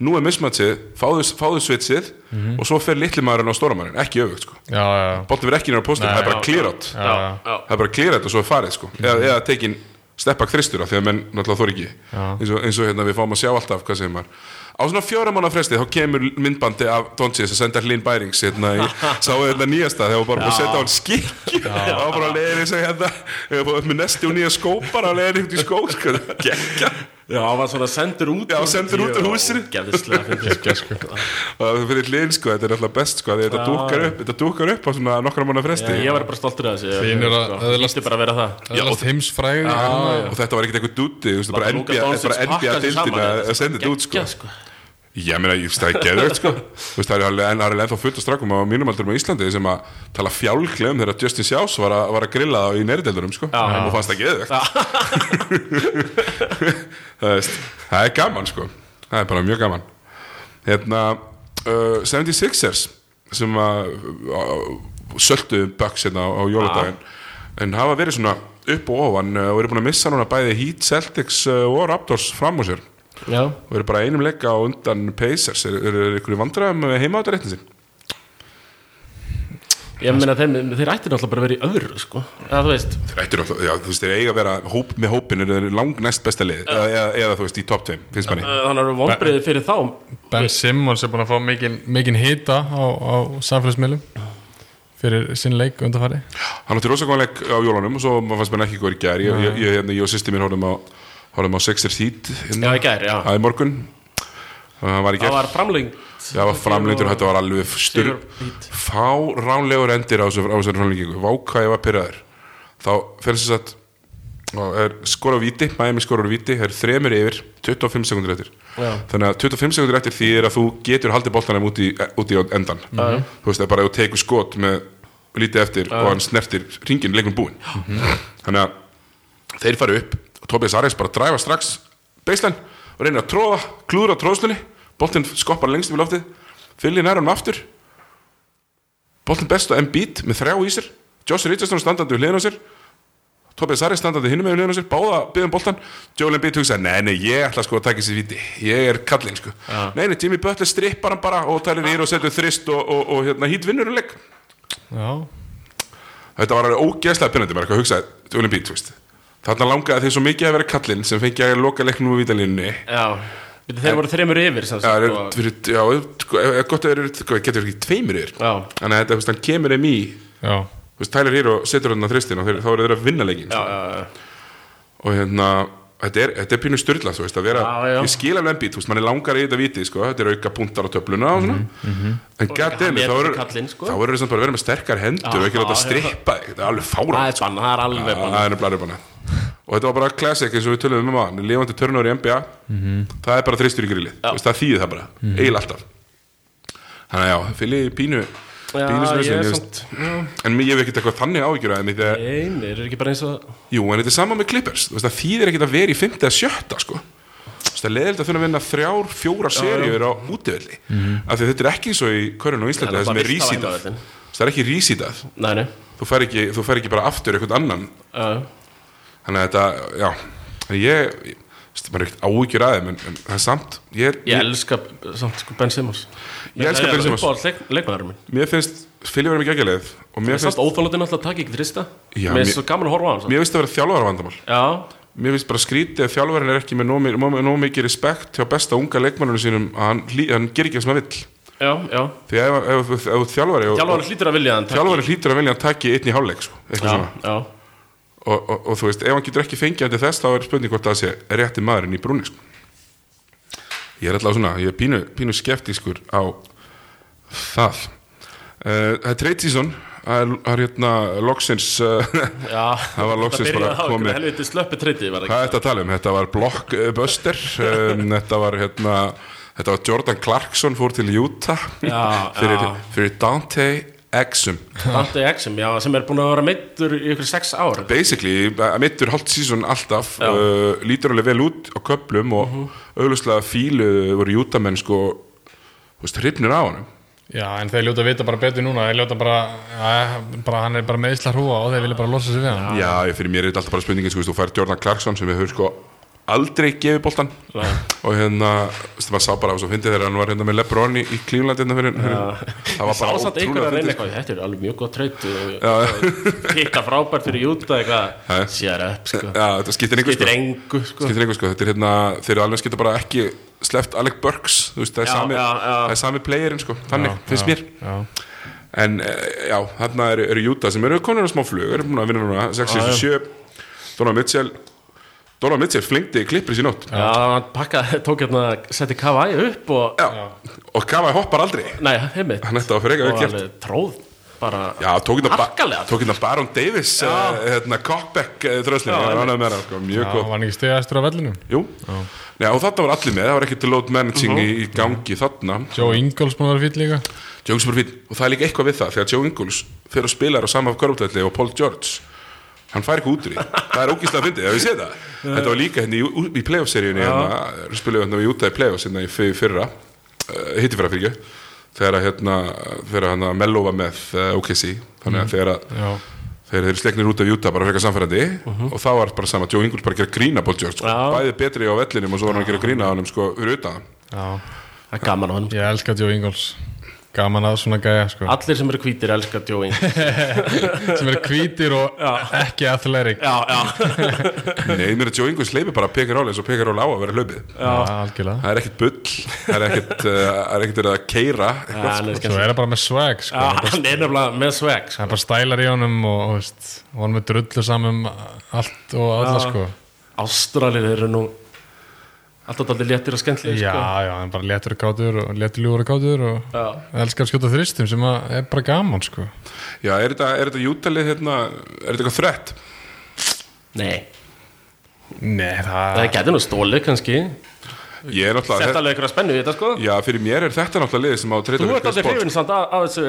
nú er mismatchið, fáðu, fáðu svitsið Mhm. og svo fer litli maðurinn á stóra maðurinn ekki öfugt sko, já, já, bóttum við ekki nýra á posti það er bara já, klírat já, já, já, það er bara klírat og svo er farið sko eða, eða tekin steppbak þristur af því að menn náttúrulega þór ekki eins og, eins og hérna, við fáum að sjá alltaf hvað segir maður á svona fjóra mánu fresti þá kemur myndbandi af Donchis að senda Hlín Bærings hérna, í, sáu þetta nýjasta þegar hún bara búið að setja á hann skikki það var bara að leiðin sig hérna hefur búið upp með nesti og nýja skópar að leiðin ykkur í skó sko, geggja já, hann var svona sendur út Já, úr- sendur út úr Já, húsinu. ógeðslega fyndið, sko. og það fyrir Hlín sko, þetta er alltaf best sko, því þetta dúkar upp, þetta dúkar upp á svona nokkra mánu fresti ég var bara stoltur af þessu Þín er að öðlast- öðlast bara að vera það öðlast heimsfræði og þetta var ekkert eitthvað dúti þú veist, eh, bara Luka NBA, Doncic bara pakkaði NBA þessu saman, dildina þetta að senda þetta út sko geggjað, sko. Já, meina, ég stæði geðvegt sko Þú veist, það er alveg, en það er alveg ennþá fullt af strákum á mínum aldurum á Íslandi sem að tala fjálglega um þegar Justin Sjás var, að- var að grilla þá í neyrideldunum sko og fannst það geðvegt það, veist, það er gaman sko það er bara mjög gaman hérna, uh, 76ers sem að uh, söldu Bucks hérna á, á jóladaginn en hafa verið svona upp og ofan uh, og eru búin að missa núna bæði Heat, Celtics uh, og Raptors fram úr sér já, og eru bara einum leika á undan Pacers eru er, er ykkur í vandræðum með heimaðarreittin sinn ég meina þeim, þeir ættir náttúrulega bara að vera í öðru sko. eða þú veist, þeir ættir alltaf, já þú veist þeir eiga að vera hóp, með hópin eru þeir lang næst besta lið eða, eða, eða þú veist í top 2 finnst manni uh, þannig að vonbreiði fyrir þá Ben Simmons er búin að fá mikinn mikinn hita á, á samfélagsmiðlum fyrir sinn leik undanfari hann átti rosakonleik á jólunum og svo maður fannst mér ekki góður í gær ég, ég, ég, hérna, ég og sýsti mér horfum á horfum á Sixers Heat já, hérna, í gær, já, aðeins morgun og hann var í það gær var framlengt það var framleindur og þetta var alveg stur Sigur- fá ránlegur endir á þessu á þessu framlengingu váka ég var pyrraður þá fyrir þess að og er skora á viti, Miami skora á viti það er þremur yfir, 25 sekundur eftir Já. þannig að 25 sekundur eftir því er að þú getur haldið boltanum út í, út í á endan þú veist það er bara að þú tekur skot með lítið eftir og hann snertir ringin lengur búinn þannig að þeir fara upp og Tobias Arias bara dræfa strax beislan og reynir að tróða, klúður á tróðslunni boltinn skoppar lengst yfir loftið fyllir nærunum aftur boltinn best á M-beat með þrjá í sér Josh Richardson standandi við hliðin á sér Tobias Arias standandi hinum með hliðin á sér báða byggðum boltann, Joel Embiid hugsaði nei, nei, ég ætla sko að taka sér viti ég er kallinn sko, nei, nei, Jimmy Butler strippar hann bara og tælir við og setur þrist og, og, og hérna, hít vinnur um leik Já, Þetta var alveg ógeðslega pinnandi mér að hugsa Jólin Bít, þú veist Þarna langaði þið svo mikið að vera kallinn sem fengi að loka leiknum á vítalínunni já, Veitu, þeir voru þreymur yfir sem Já, sagt, er, og- fyrir, já sko, ef- ef gott að þeir eru sko, getur ekki tveimur yfir já, Þannig að þetta, þú veist, hann kemur þeim í Þú já, veist, Tyler Hero setur hann að þristin og þeir, þá eru þeir að vinna leikin já, já, já. og hérna Þetta er, þetta er pínu styrla, þú veist, að vera, Já, já. ég skil alveg embít, þú veist, mann er langar í þetta viti, sko, þetta er auka punktar á töfluna og svona, en Mhm, hann goddammit, er þá ekki kallinn, sko. verður þess að bara vera með sterkar hendur og ekki láta já, já. strippa, þig. þetta er alveg fáránlegt. það er bann, það er alveg Já, bann það er nefnilega röfbana og þetta var bara classic eins og við töluðum um aðan lifandi törnur í NBA Mhm. það er bara þristur í grillið, Þú veist, það þýðir það bara mm alltaf þannig að já, fylg í pínu Já, pínu sem ég er þessu samt- en mér- ég hef ekkert eitthvað þannig áhyggjur að þegar, Nei, þeir eru ekki bara eins og jú, en þetta er sama með Clippers Þú veist, það þýðir ekkert að vera í 5. eða 7. sko Þú veist, það leðilt að þurfa að vinna þrjár, fjórar seríur á útivelli af því að þetta er ekki eins og í körun og Íslandi Já, það sem bara er vist á rísítað heimavöllinn. Þú veist, það er ekki rísítað Nei, nei þú fer ekki, þú fer ekki bara aftur eitthvað annan uh, þannig að þetta, já þannig að ég, ég veist, maður er ekkert áhyggjur aðeim en, en það er samt, ég, Ég ég, elska samt sko Ben Simmons Ég elska Ben Simmons. Það er uppáhald leik, leikmaðurum minn mér finnst Filið verið mikið aðgjaleið og mér Mér finnst finnst, óþálandi náttúrulega að taka ekki drista Já, Mér finnst mér- svo gaman að horfa á hann samt. mér finnst það verið þjálfara vandamál Já, Mér finnst bara skrítið að þjálfarinn er ekki með nóg mi- nóg- nóg mikið respekt hjá besta unga leikmannunum sínum að hann, hlý- hann gerir ekki það sem hann vill já, já Því að ef- ef ef- ef þú ert þjálfari og- Þjálfari hlýtur að vilja hann taka- Þjálfari hlýtur að vilja að hann taki einn í hálfleik svo, eitthvað Já, svona. já og, og, og þú veist, ef hann getur ekki fengið hann til þess þá er spurning hvort það sé rétti maðurinn í brúni sko. ég er alltaf svona ég er pínu, pínu skeptískur á það Eh, það er trade season það er, það er hérna loksins uh, Já, Það var loksins Það byrjaði bara á einhverju komið. Helviti slöppi treyti var hvað það er þetta að tala um, þetta var blockbuster um, þetta var hérna þetta var Jordan Clarkson fór til Utah Já, fyrir, já. fyrir Dante Exum ekki Dante Exum, já, sem er búin að vera meittur í ykkur sex ár basically, að mittur hálft sísón alltaf, Já. Mhm. uh, lítur alveg vel út á köplum og auðvitað fílu voru jútamenn sko þú veist, hrifnir á honum Já, en þeir ljóta að vita bara betur núna Þeir ljóta bara, að, bara hann er bara meðisla hrúa og þeir vilja bara losa sig við hann Já, ég- fyrir mér er þetta alltaf bara spurningin sko, þú veist, þú fær Jordan Clarkson sem við höfum sko aldrei gefið boltan Nei. og hérna, þú veist, maður sá bara á svo fyndi þegar hann var hérna með Lebron í, í Cleveland hérna fyrir, fyrir það var bara Sásand einhver að ótrúlega reyna fyndið, sko. eitthvað Þetta er alveg mjög gott treyt Hitta frábært fyrir Júta eitthvað Sér upp, sko Já, þetta skiptir einhver Getur engu, sko skiptir einhver sko, þetta er hérna þeir eru alveg skipta bara ekki sleppt Alec Burks þú veist, það er Já, sami, já, já. það er sami playerinn sko, þannig, finnst mér Já, en eh, já, þarna eru er Júta sem eru komin að smá flug, eru búin að vinna núna 67, Donald Mitchell Donald Mitchell flengdi klippris í nótt já, Já, hann pakkaði, tók hérna, setti Kavai upp og og Kavai hoppar aldrei Nei, heimitt hann ætti að fyrir Og eitthvað gert alveg tróð Bara Já, tók hérna Harkalega. ba- tók hérna Baron Davis uh, hérna, cockback uh, þröslinu, Já, hann einmitt. ánægði með það sko, mjög hann gott var hann ekki stegastur á vellinu Jú, já, og þarna var allir með, það var ekki til load Mhm. managing í, í gangi þarna Joe Ingalls múið að vera fýll líka Joe Ingles er bara fín og það er líka eitthvað við það þegar Joe Ingles fyrir að spila á sama körfutælli og Paul George hann fær ekki út úr því það er ógíslega fyndið, ef við séð það þetta var líka hérna í, ú- í playoff-seríunni hérna, spilaðu hérna í Utah í playoffs hérna í fyr- fyrra uh, hitti fyrra fyrir ekki þegar að, hérna, þegar að, hérna Mello var með uh, OKC þannig að þegar að Já, þegar þeir eru slegnir út af Utah bara frekar samfærandi og þá var bara sama, Joe Ingles bara að gera grína Paul George, sko. Já. bæði betri á vellinum og svo var hann að gera grína á hann sko, fyrir utan hann. já, Það er gaman á hann ég elska Joe Ingalls Gaman að svona gæja, sko Allir sem eru hvítir elskar Joe Ingles Sem er hvítir og ekki athletic Já, Já, já, Nei, mér er Joe Ingles leifi bara Pekka Róli eins og Pekka Róli á að vera hlaupið algjörlega Það er ekkert bull, það er ekkert, uh, það er ekkert verið að keira Já, hann er Svo skemmt er það bara með swag, sko Já, Hann er nefnilega með swag sko. Það er bara stælar í honum og, og veist, og hann er með drullu saman allt og alla, Já. sko Ástralir eru nú Alltaf aldrei léttir og skemmtlir Já, sko. já, hann bara letur kátur og letur ljúður kátur og Já. elskar að skjóta þristum sem að er bara gaman, sko Já, er þetta, er þetta jútalið hérna, er þetta eitthvað þrætt? Nei, Nei, það það getur nú stólið kannski Ég er Sett náttúrulega, alveg ykkur að spennu í þetta sko já, fyrir mér er þetta náttúrulega liðið sem á að treyta Þú fyrir ert aldrei sport. hrifin samt að, að þessu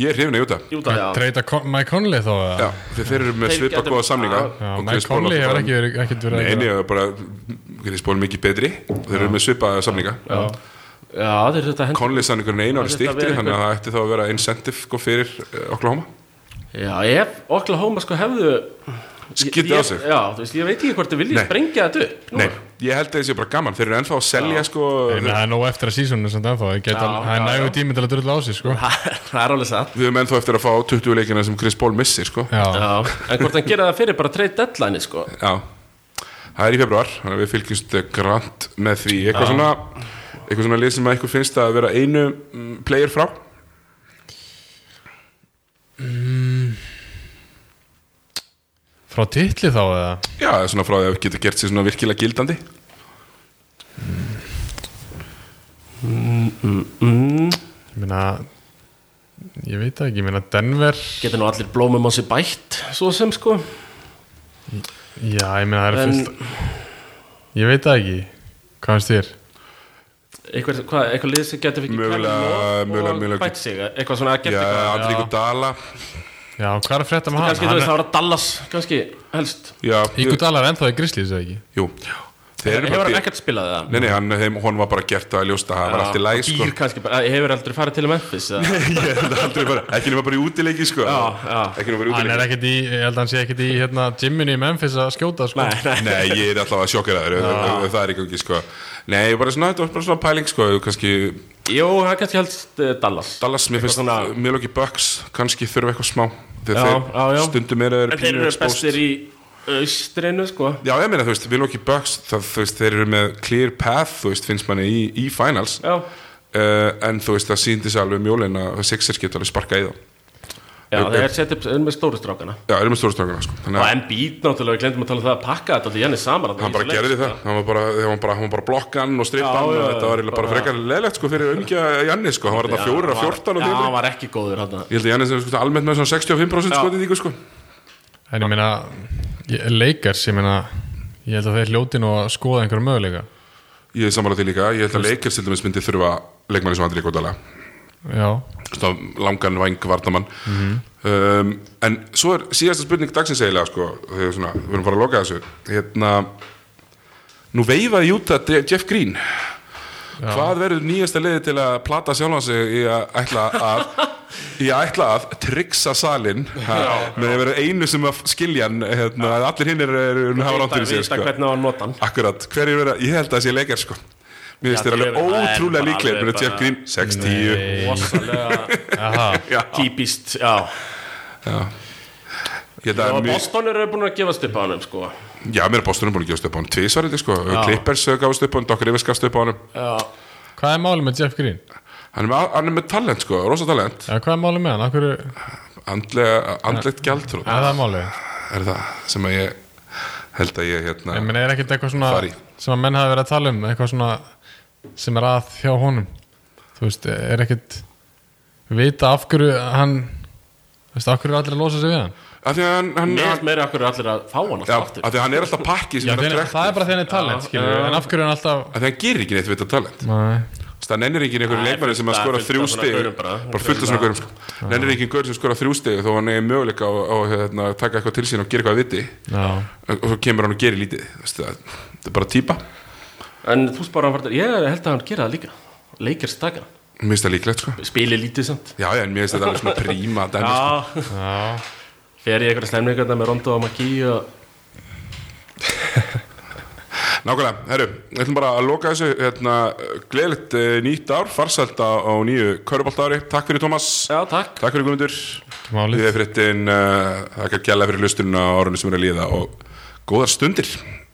Ég er hrifin að júta Júta, já Treyta Con- Mike Conley þá eða? Já, þeir, þeir eru með Þeir svipa gætu- góða samninga Já, Já, og Chris Mike Paul Conley náttúrulega bara- hefur ekki verið ekkert verið Nei, að en gera- ég er bara, Chris Paul er mikið betri og þeir eru með svipaða samninga Já, já þeir eru þetta hendur Conley samningurinn einu ári Já, þetta stíktir verið þannig að það ætti þá að vera incentive sko, fyrir uh, Oklahoma Já, ef Oklahoma sko hefðu Skitið Ég- á sig. Já, þú veist, ég veit ekki hvort þið viljið Nei. sprengja þetta upp núna. Nei, ég held að það sé bara gaman þeir eru ennþá að selja sko, Ég meina, Það er nóg eftir að sísónu sem það er Já, Það er já, nægur já. tími til að drulla á sig sko. Það er alveg satt við höfum ennþá eftir að fá 20 leikina sem Chris Paul missir sko. Já, Já, en hvort hann gera það fyrir bara trade deadline sko. Já, það er í februar þannig að við fylgjumst grant með því eitthvað svona eitthvað svona lið sem að eitthvað finnst að vera einu mm, player frá frá titli þá eða Já, það er svona frá því að við getum gert sér svona virkilega gildandi Mm, Ég meina Ég veit það ekki, ég meina Denver Geta nú allir blómum á sig bætt Svo sem sko Já, ég meina það er En- fullt Ég veit það ekki Hvað finnst þér? Eitthvað, hvað, eitthvað lið sem getur fengið Mögulega- Kevin Love mögulega- og mögulega- bætt sig Eitthvað svona að Já, geta eitthvað Andri Gu Dala Já, hvað er að frétta Ah, með hann? Kannski þú veist hann það var að Dallas Kannski helst Já, Ígur Dalar ennþá í Grizzlies eða ekki? jú Þeir eru Hefur bara- hann ekkert spilað það? Nei, nei, hann, þeim, hún var bara gert að ljósta að það var allt í læg sko. Býr kannski bara, hefur aldrei farið til Memphis eða? Ég held að aldrei bara, ekki nema bara í útileiki sko. Já, já. Ekki nema bara í Hann er útileiki ekkert í, ég held að hann sé ekkert í hérna gyminu í Memphis að skjóta sko Nei, nei Nei, ég er alltaf að sjokkeraður ef- ef- ef það er í gangi sko. Nei, bara svona, þetta var bara svona pæling sko, kannski Jú, hann kannski helst uh, Dallas Dallas, mér finnst, svona- mjög lóki Bucks kannski þurfa eitthvað smá Já, þegar já, þeir já. stundum meira En þeir eru bestir í austrinu, sko Já, ég meina, þú veist, við lóki Bucks það, þú veist, þeir eru með clear path, þú veist, finnst manni í, í finals Já, uh, en þú veist, það síndi sér alveg um jólin að Sixers geta alveg sparkað í þá já Ok. þeir eru sett upp þeir eru með stóru strákana Já, erum við stórastrákana, sko Þannig Og að Embiid náttúrulega, við glemdum að tala um það að pakka þetta Því hann er saman hann bara gerði það hann var bara, hann var bara, hann var bara blokkan og Já, strippan og já, þetta var eiginlega bara bara- frekar leðlegt sko fyrir umgja Jannis sko, hann var þarna fjórir af 14 og Já, hann tíma var ekki góður hann Ég held að Jannis er sko, almennt með svona 65% Já. skotinningu sko En ég meina, ég- Lakers, ég meina Ég held að þeir hljóti nú að skoða einhverja möguleika Ég er samanlega til líka, ég held að leikir til dæmis myndi þurfa leikmanni sem Andri Góttala Já, svona langan væng vardamann Mhm. um, en svo er síðasta spurning dagsins eiginlega sko, þegar svona, við erum bara að loka þessu hérna nú veifaði Júta Jeff Green hvað verður nýjasta leiði til að plata sjálfan sig í að ætla að í að ætla að tryggsa salin ha, með að vera einu sem að skilja hann hérna, að allir hinn eru er, hafa rátt fyrir sig Vita sko. hvernig hann nota hann akkurat, hverjir verða, ég held að það sé leikar sko Mér finnst Já, þér alveg þeir eru- það er ótrúlega bara líklegir alveg Mér finnst Jeff bara- Green 6-10 Rosalega aha Já. típist, já Ég held að Og mjög- Boston eru búin að gefast upp á hann, sko Já, mér er Boston búin að gefast upp á hann Tvísvarandi sko, Clippers uh, gafast upp á hann Doc Rivers gafst upp á hann Já, Hvað er málið með Jeff Green? Hann er með, hann er með talent sko, rosa talent Já, hvað er málið með hann? Akkur, Andlega, Andlegt gjaldtrú er það málið? Er það sem að ég held að ég hérna Ég meina, er ekkert eitthvað svona Fari. sem að menn hafi verið að tala um, eitthvað svona sem er að hjá honum þú veist, er ekkert vita af hverju hann þú veist, af hverju er allir að losa sig við hann Af því að hann, hann, mér finnst hann meira okkur allir að fá hann Já, alltaf af aftur því að hann er alltaf pakki sem Já, er þeir, alltaf það er bara þegar hann er talent, Já, skilur já. en af hverju er hann alltaf Af því að hann gerir ekki neitt við þetta talent Nei, Þess að nennir ekki einhverju Nei, leikmæri sem að fullt skora af- fullt af þrjú svona stig gaurum bara. Bara fullt af svona gaurum sko. Nennir ekki einhverju sem skora þrjú stig Þó hann er möguleika á, á hérna, að taka eitthvað til sín og gera eitthvað að viti já, Og svo kemur hann og gerir lítið Þú veist, Það það er bara típa En þú spara hann vartar, ég held að hann gera það líka Leikers taka hann, Mér finnst það líklegt sko spili lítið samt Já, já, en mér finnst þetta alveg svona príma að Dennis, sko. Já, já fer ég einhverja stemningarna með Rondo og Magí og Nákvæmlega, herru, við ætlum bara að loka þessu hérna, Gleðilegt eh, nýtt ár, farsælda á nýju Köruboltári, takk fyrir Tómas Já, takk Takk fyrir Guðmundur málið eh, Við erum fréttin, uh, þakkar gæla fyrir lustununa á árunni sem er að líða og góðar stundir